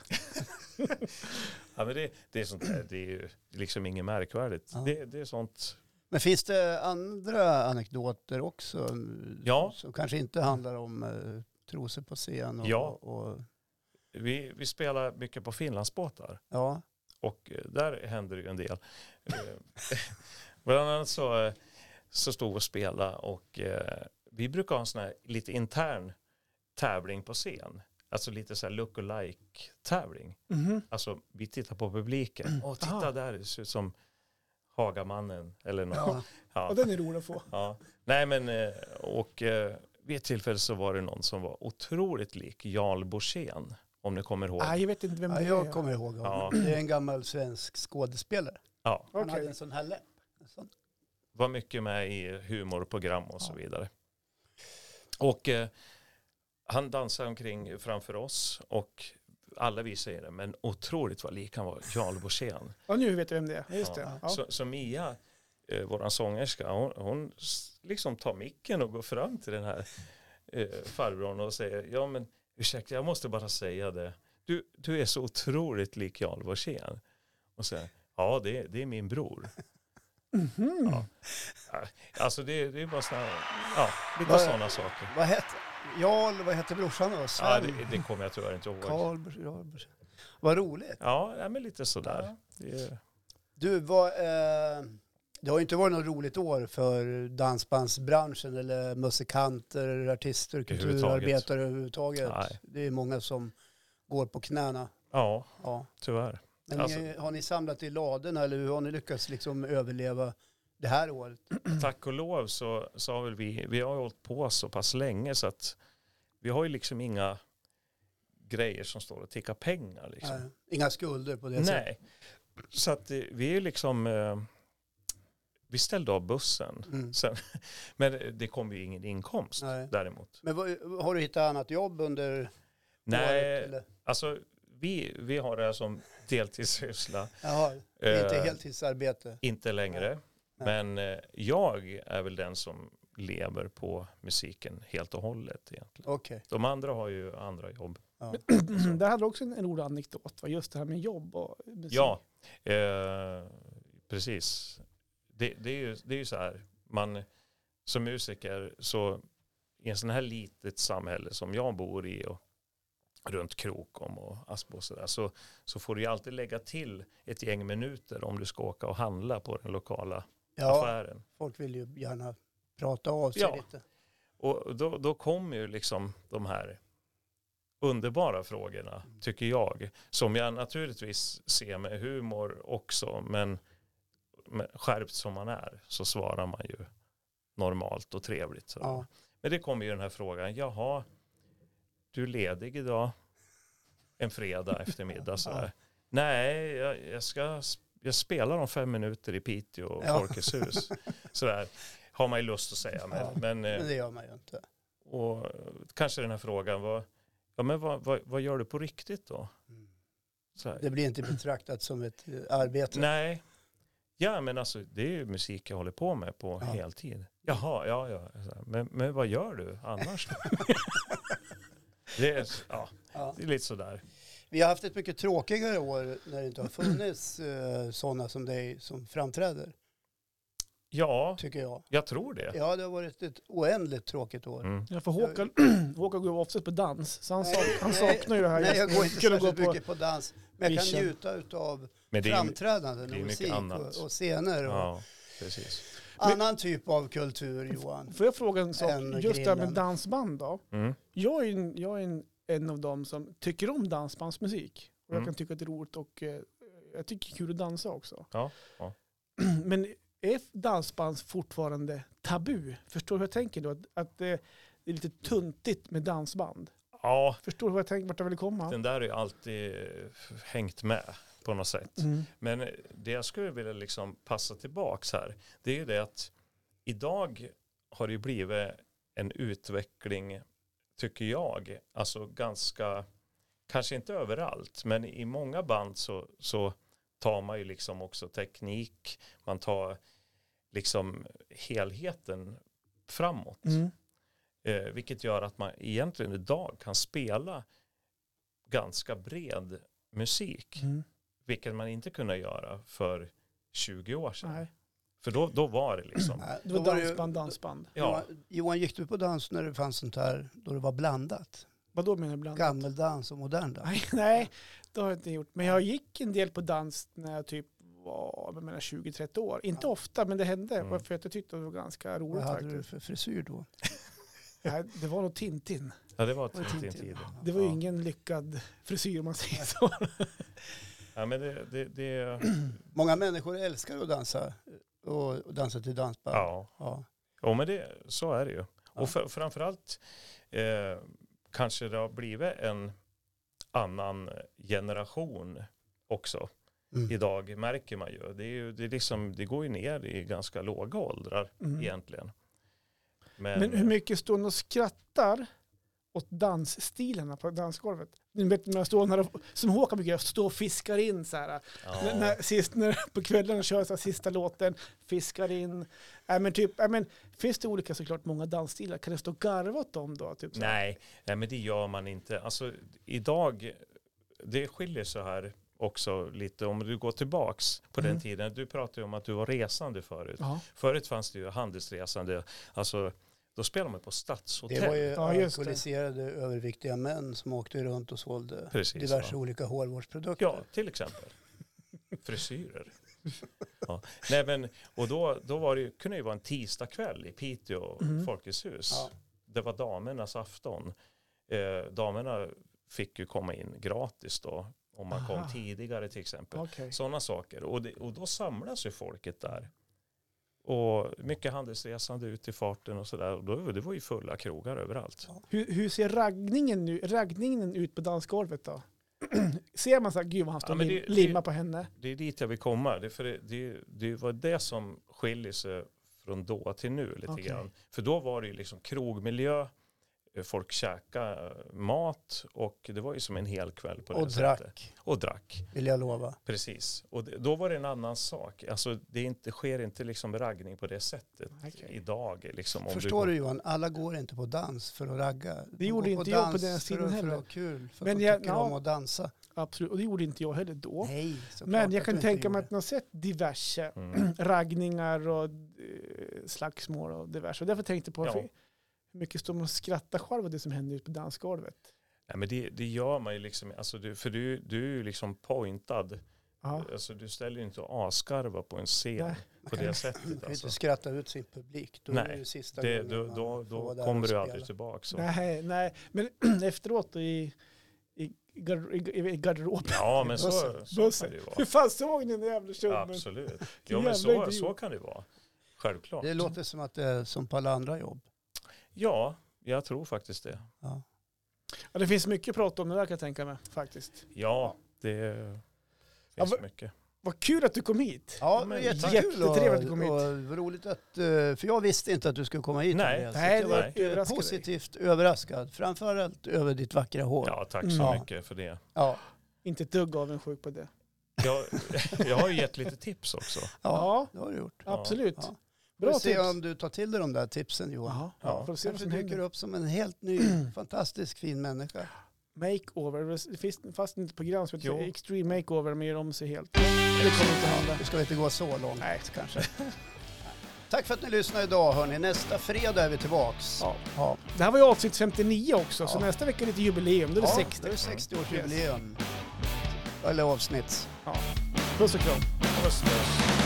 Speaker 1: Ja, men det, det är sånt där, det är ju liksom inget märkvärdigt.
Speaker 3: Ja.
Speaker 1: Det, det är sånt,
Speaker 3: Men finns det andra anekdoter också? mm,
Speaker 1: Ja.
Speaker 3: Som kanske inte handlar om eh, trosor på scen? Och,
Speaker 1: Ja.
Speaker 3: Och,
Speaker 1: vi, vi spelar mycket på Finlandsbåtar
Speaker 3: ja.
Speaker 1: och eh, där händer det ju en del. Eh, Bland annat så, eh, så stod vi och spelade och eh, vi brukar ha en sån här lite intern tävling på scen. Alltså lite så här look alike tävling.
Speaker 2: Mhm.
Speaker 1: Alltså vi tittar på publiken. Åh, titta
Speaker 2: Aha.
Speaker 1: där, det ser ut som Hagamannen eller något.
Speaker 3: Ja.
Speaker 1: Ja.
Speaker 2: Och den är rolig att få.
Speaker 1: Ja, nej men eh, och eh, vid ett tillfälle så var det någon som var otroligt lik Jarl Borssén, om ni kommer ihåg.
Speaker 2: Nej, jag vet inte vem
Speaker 3: ja,
Speaker 2: det är.
Speaker 3: jag kommer ihåg honom.
Speaker 1: Ja.
Speaker 3: Det är en gammal svensk skådespelare.
Speaker 1: Ja,
Speaker 3: Han hade
Speaker 2: Okej.
Speaker 3: en sån här läpp. En sån.
Speaker 1: var mycket med i humorprogram och så
Speaker 3: Ja.
Speaker 1: vidare. Och eh, han dansade omkring framför oss och alla vi säger det, men otroligt vad lik han var, Jarl Borssén.
Speaker 2: Ja, nu vet jag vem det är. Just
Speaker 1: Ja.
Speaker 2: det. Ja.
Speaker 1: Så, så Mia, eh, våran sångerska, hon, hon s- liksom tar micken och går fram till den här eh, farbrorn och säger, ja men ursäkta, jag måste bara säga det, du, du är så otroligt lik Jarl Borssén. Och säger, ja det, det är min bror.
Speaker 2: Mhm.
Speaker 1: Ja. Alltså det, det är bara sådana, ja, det är bara
Speaker 3: Vad-
Speaker 1: sådana saker.
Speaker 3: Vad hette Jarl, vad hette brorsan då?
Speaker 1: Ja,
Speaker 3: Sven?
Speaker 1: det, det kommer jag tyvärr inte ihåg.
Speaker 3: Karl, Br- Jarl Br- Vad roligt.
Speaker 1: Ja, nej, men lite sådär.
Speaker 3: Ja.
Speaker 1: Det är,
Speaker 3: Du, vad, eh, det har ju inte varit något roligt år för dansbandsbranschen eller musikanter, artister, kulturarbetare överhuvudtaget.
Speaker 1: Nej.
Speaker 3: Det är många som går på knäna.
Speaker 1: ja,
Speaker 3: Ja.
Speaker 1: tyvärr.
Speaker 3: Men
Speaker 1: Alltså-
Speaker 3: ni, har ni samlat i ladorna eller hur har ni lyckats liksom överleva det här året?
Speaker 1: Tack och lov så, så har väl vi, vi har ju hållit på så pass länge så att vi har ju liksom inga grejer som står och tickar pengar. Liksom.
Speaker 3: Nej. Inga skulder på det sättet?
Speaker 1: Nej, så att eh, vi är ju liksom, eh, vi ställde av bussen.
Speaker 3: Mm.
Speaker 1: Sen, men det kom ju ingen inkomst
Speaker 3: Nej.
Speaker 1: däremot.
Speaker 3: Men vad, har du hittat annat jobb under året?
Speaker 1: Nej,
Speaker 3: Eller?
Speaker 1: Alltså, vi, vi har det här som deltidssyssla.
Speaker 3: Jaha, det är inte
Speaker 1: Eh,
Speaker 3: heltidsarbete.
Speaker 1: Inte längre.
Speaker 3: Nej.
Speaker 1: Men eh, jag är väl den som lever på musiken helt och hållet egentligen.
Speaker 3: Okej.
Speaker 1: De andra har ju andra jobb.
Speaker 3: Ja.
Speaker 2: Där hade du också en, en rolig anekdot, va? just det här med jobb och musik.
Speaker 1: Ja, eh, precis. Det, det, är ju, det är ju så här, man som musiker så i en sån här litet samhälle som jag bor i och runt Krokom och Aspo och sådär så, så får du ju alltid lägga till ett gäng minuter om du ska åka och handla på den lokala
Speaker 3: ja,
Speaker 1: affären.
Speaker 3: folk vill ju gärna prata av sig
Speaker 1: Ja.
Speaker 3: lite.
Speaker 1: Och då, då kommer ju liksom de här underbara frågorna,
Speaker 3: Mm.
Speaker 1: tycker jag. Som jag naturligtvis ser med humor också, men men skärpt som man är så svarar man ju normalt och trevligt. Så.
Speaker 3: Ja.
Speaker 1: Men det kommer ju den här frågan, jaha, du är ledig idag en fredag eftermiddag sådär. Nej, jag, jag, ska, jag spelar om fem minuter i Piteå och
Speaker 3: Ja.
Speaker 1: Folkets hus. Sådär har man ju lust att säga. Men,
Speaker 3: Ja.
Speaker 1: men, eh,
Speaker 3: Men det gör man ju inte.
Speaker 1: och eh, kanske den här frågan var, ja men vad, vad, vad gör du på riktigt då?
Speaker 3: Mm.
Speaker 1: Så här,
Speaker 3: Det blir inte betraktat som ett eh, arbete.
Speaker 1: Nej, ja men alltså det är ju musik jag håller på med på
Speaker 3: Ja.
Speaker 1: heltid. Jaha, ja ja, så här, men, men vad gör du annars? det, är, ja,
Speaker 3: Ja.
Speaker 1: det är lite sådär.
Speaker 3: Vi har haft ett mycket tråkigare år när det inte har funnits eh, sådana som dig som framträder,
Speaker 1: Ja,
Speaker 3: tycker jag.
Speaker 1: jag tror det.
Speaker 3: Ja, det har varit ett oändligt tråkigt år.
Speaker 1: Mm.
Speaker 2: Ja, för Håkan, Håkan går ju oftast på dans, så han, sak, han
Speaker 3: Nej,
Speaker 2: saknar ju det här.
Speaker 3: Nej, jag går inte
Speaker 2: Skulle
Speaker 3: särskilt
Speaker 2: gå på-
Speaker 3: mycket på dans. Men jag kan
Speaker 2: Vision.
Speaker 3: njuta av
Speaker 1: Men det är ju,
Speaker 3: framträdanden
Speaker 1: det är
Speaker 3: och
Speaker 1: mycket
Speaker 3: musik
Speaker 1: annat.
Speaker 3: och, och scener och
Speaker 1: ja, precis.
Speaker 3: annan typ av kultur, Johan.
Speaker 2: Får jag fråga en sak?
Speaker 3: En
Speaker 2: Just det här med
Speaker 3: grillen.
Speaker 2: dansband då.
Speaker 1: Mm.
Speaker 2: Jag är, en, jag är en, en av dem som tycker om dansbandsmusik. Och jag
Speaker 1: Mm.
Speaker 2: kan tycka att det är roligt och eh, jag tycker det är kul att dansa också.
Speaker 1: Ja, ja.
Speaker 2: Men är dansband fortfarande tabu? Förstår du hur jag tänker då? Att, att eh, det är lite tuntigt med dansband.
Speaker 1: Ja,
Speaker 2: Förstår du hur jag tänker, vart jag vill komma?
Speaker 1: den där har ju alltid eh, hängt med på något sätt.
Speaker 2: Mm.
Speaker 1: Men det jag skulle vilja liksom passa tillbaks här, det är ju det att idag har det ju blivit en utveckling, tycker jag, alltså ganska, kanske inte överallt, men i många band så, så tar man ju liksom också teknik, man tar liksom helheten framåt.
Speaker 2: Mm.
Speaker 1: Eh, vilket gör att man egentligen idag kan spela ganska bred musik
Speaker 2: Mm.
Speaker 1: vilket man inte kunde göra för 20 år sedan.
Speaker 2: Nej.
Speaker 1: För då, då var det liksom,
Speaker 3: Nej,
Speaker 2: Det
Speaker 3: Äh, då
Speaker 2: var
Speaker 3: det ju-
Speaker 2: dansband, dansband.
Speaker 1: ja,
Speaker 3: Johan, Johan, gick du på dans när det fanns sånt här, då det var blandat?
Speaker 2: Vad då menar du bland?
Speaker 3: Gammeldans och modern dans?
Speaker 2: Nej, nej, det har jag inte gjort. Men jag gick en del på dans när jag typ var jag menar, 20-30 år. Inte ofta, men det hände.
Speaker 1: Mm.
Speaker 2: För att jag tyckte det var ganska
Speaker 3: Vad
Speaker 2: roligt
Speaker 3: hade du
Speaker 2: faktiskt.
Speaker 3: för frisyr då?
Speaker 2: Nej, det var nog Tintin.
Speaker 1: ja det var
Speaker 3: Var det
Speaker 1: Tintin-tiden.
Speaker 2: Det var ju
Speaker 1: Ja.
Speaker 2: ingen lyckad frisyr om man säger så.
Speaker 1: Ja, men det, det, det,
Speaker 3: Många människor älskar att dansa och och dansa till dansband.
Speaker 1: ja.
Speaker 3: Ja.
Speaker 1: ja, men det, så är det ju.
Speaker 3: Ja.
Speaker 1: Och för, framförallt eh, kanske det har blivit en annan generation också
Speaker 3: Mm.
Speaker 1: idag märker man ju. Det, är ju det, är liksom, det går ju ner i ganska låga åldrar
Speaker 2: Mm.
Speaker 1: egentligen.
Speaker 2: Men hur mycket står ni och skrattar åt dansstilarna på dansgolvet? Ni vet när jag står när, som Håkan brukar göra, står och fiskar in så här.
Speaker 1: ja.
Speaker 2: När, när, sist, när, på kvällarna kör jag så här, sista låten, fiskar in. Nej men typ, nej, men, finns det olika såklart många dansstilar? Kan du stå och garva åt dem då? Typ, så här?
Speaker 1: Nej, nej, men det gör man inte. Alltså, idag, det skiljer så här också lite om du går tillbaks på
Speaker 2: Mm.
Speaker 1: den tiden. Du pratade ju om att du var resande förut.
Speaker 2: Ja.
Speaker 1: Förut fanns det ju handelsresande, alltså då spelade man på
Speaker 3: Det
Speaker 1: stadshotell.
Speaker 3: var ju
Speaker 2: Ja, just det.
Speaker 3: alkoholiserade överviktiga män som åkte runt och sålde
Speaker 1: Precis,
Speaker 3: diverse
Speaker 1: ja.
Speaker 3: olika hårvårdsprodukter.
Speaker 1: Ja, till exempel. Frisyrer. Ja. Nej, men, och då, då var det ju, kunde det ju vara en tisdagkväll i Piteå,
Speaker 2: Mhm.
Speaker 1: Folkets hus.
Speaker 3: Mm. Ja.
Speaker 1: Det var damernas afton. Eh, damerna fick ju komma in gratis då, om man
Speaker 2: Aha.
Speaker 1: kom tidigare till exempel.
Speaker 2: Okej.
Speaker 1: Sådana saker. Och, det, och då samlas ju folket där. Och mycket handelsresande ut i farten och sådär. Och då- Det var ju fulla krogar överallt.
Speaker 2: Hur, hur ser raggningen, nu, raggningen ut på dansgolvet då? ser man så här, gud vad han står
Speaker 1: Ja,
Speaker 2: och
Speaker 1: men
Speaker 2: lim,
Speaker 1: det- det-
Speaker 2: limmar på henne?
Speaker 1: det är dit jag vill komma. Det, är för det, det, det var det som skiljer sig från då till nu lite
Speaker 2: Okej.
Speaker 1: grann. För då var det ju liksom krogmiljö, eh, folk käkade eh, mat och det var ju som en hel kväll på det
Speaker 3: och
Speaker 1: sättet.
Speaker 3: drack,
Speaker 1: Och drack,
Speaker 3: vill jag lova.
Speaker 1: precis. Och det, då var det en annan sak. Alltså det är inte, sker inte liksom raggning på det sättet
Speaker 2: Okej.
Speaker 1: idag. Liksom, om
Speaker 3: Förstår du
Speaker 1: du?
Speaker 3: Johan, alla går inte på dans för att ragga. De
Speaker 2: gjorde
Speaker 3: går
Speaker 2: inte jag på
Speaker 3: dans
Speaker 2: den
Speaker 3: för
Speaker 2: tiden
Speaker 3: att, För
Speaker 2: heller.
Speaker 3: att ha kul, för
Speaker 2: Men
Speaker 3: att de
Speaker 2: jag-
Speaker 3: tycker
Speaker 2: ja.
Speaker 3: om att dansa.
Speaker 2: Absolut, och det gjorde inte jag heller då.
Speaker 3: Nej, såklart
Speaker 2: Men jag
Speaker 3: att
Speaker 2: kan
Speaker 3: du inte
Speaker 2: tänka mig
Speaker 3: gjorde.
Speaker 2: att ni har sett diverse
Speaker 1: Mm.
Speaker 2: raggningar och eh, slagsmål och diverse. Och därför tänkte jag på
Speaker 1: Ja.
Speaker 2: hur mycket står man och skrattar själv åt det som händer ute på dansgolvet.
Speaker 1: Nej, men det, det gör man ju liksom, alltså du, för du, du är ju liksom pointad.
Speaker 2: Ja.
Speaker 1: Alltså, du ställer ju inte askarva på en scen
Speaker 2: Nej.
Speaker 1: på
Speaker 3: kan-
Speaker 1: det sättet.
Speaker 3: Man kan ju
Speaker 1: Alltså.
Speaker 3: inte skratta ut sin publik. Då är det
Speaker 1: Nej,
Speaker 3: ju sista
Speaker 1: Det,
Speaker 3: gången
Speaker 1: då
Speaker 3: man
Speaker 1: då,
Speaker 3: får
Speaker 1: då
Speaker 3: vara där
Speaker 1: kommer
Speaker 3: och
Speaker 1: du
Speaker 3: spela.
Speaker 1: aldrig tillbaka. Så.
Speaker 2: Nej, nej, men efteråt då i, i, gar, i, i garderoben.
Speaker 1: Ja, men så,
Speaker 2: Bussen.
Speaker 1: så
Speaker 2: Bussen.
Speaker 1: kan det ju
Speaker 2: Hur
Speaker 1: vara.
Speaker 2: fan såg ni den jävla tjommen?
Speaker 1: Absolut. Ja, men
Speaker 2: Jävla
Speaker 1: så,
Speaker 2: idiot.
Speaker 1: så kan det vara. Självklart.
Speaker 3: Det låter som att det är som på alla andra jobb.
Speaker 1: Ja, jag tror faktiskt det.
Speaker 3: Ja.
Speaker 2: Ja, det finns mycket att prata om det där kan jag tänka mig faktiskt.
Speaker 1: Ja, det
Speaker 2: Ja,
Speaker 1: finns
Speaker 2: vad-
Speaker 1: mycket.
Speaker 2: Vad kul att du kom hit.
Speaker 3: Ja,
Speaker 1: men
Speaker 3: jättekul.
Speaker 2: jättetrevligt att komma hit.
Speaker 3: Och, och vad roligt att, eh, för jag visste inte att du skulle komma hit.
Speaker 1: Nej.
Speaker 3: Andreas.
Speaker 2: Nej,
Speaker 3: jag
Speaker 2: det
Speaker 3: var eh,
Speaker 2: överraskade dig.
Speaker 3: positivt överraskad. Framförallt över ditt vackra hår. Ja.
Speaker 1: Ja, tack
Speaker 2: Mm.
Speaker 1: så
Speaker 3: Ja.
Speaker 1: mycket för det.
Speaker 3: Ja.
Speaker 2: Inte ett dugg avundsjuk på det.
Speaker 1: Jag, jag har ju gett lite tips också.
Speaker 2: Ja,
Speaker 3: det har du gjort.
Speaker 1: Ja.
Speaker 2: absolut.
Speaker 3: Ja.
Speaker 2: Bra
Speaker 3: Bra se
Speaker 2: tips.
Speaker 3: om du tar till dig de där tipsen Johan.
Speaker 2: Jaha,
Speaker 1: Ja.
Speaker 2: får vi se vad
Speaker 3: Kanske
Speaker 2: som
Speaker 3: dyker
Speaker 2: händer.
Speaker 3: upp som en helt ny, fantastisk fin människa.
Speaker 2: Makeover, det finns fast ett program som heter
Speaker 1: Jo.
Speaker 2: Extreme Makeover, men gör om sig helt. Det kommer inte hända.
Speaker 3: Nu ska vi inte gå så långt
Speaker 2: Nej.
Speaker 3: kanske. Tack för att ni lyssnade idag hörni. Nästa fredag är vi tillbaks.
Speaker 2: Ja.
Speaker 3: Ja.
Speaker 2: Det här var ju avsnitt 59 också, så
Speaker 3: Ja.
Speaker 2: nästa vecka är lite jubileum, då är det
Speaker 3: Ja,
Speaker 2: 60.
Speaker 3: Då är det 60-årsjubileum. Eller avsnitt.
Speaker 2: Puss och kram.
Speaker 1: Puss, puss.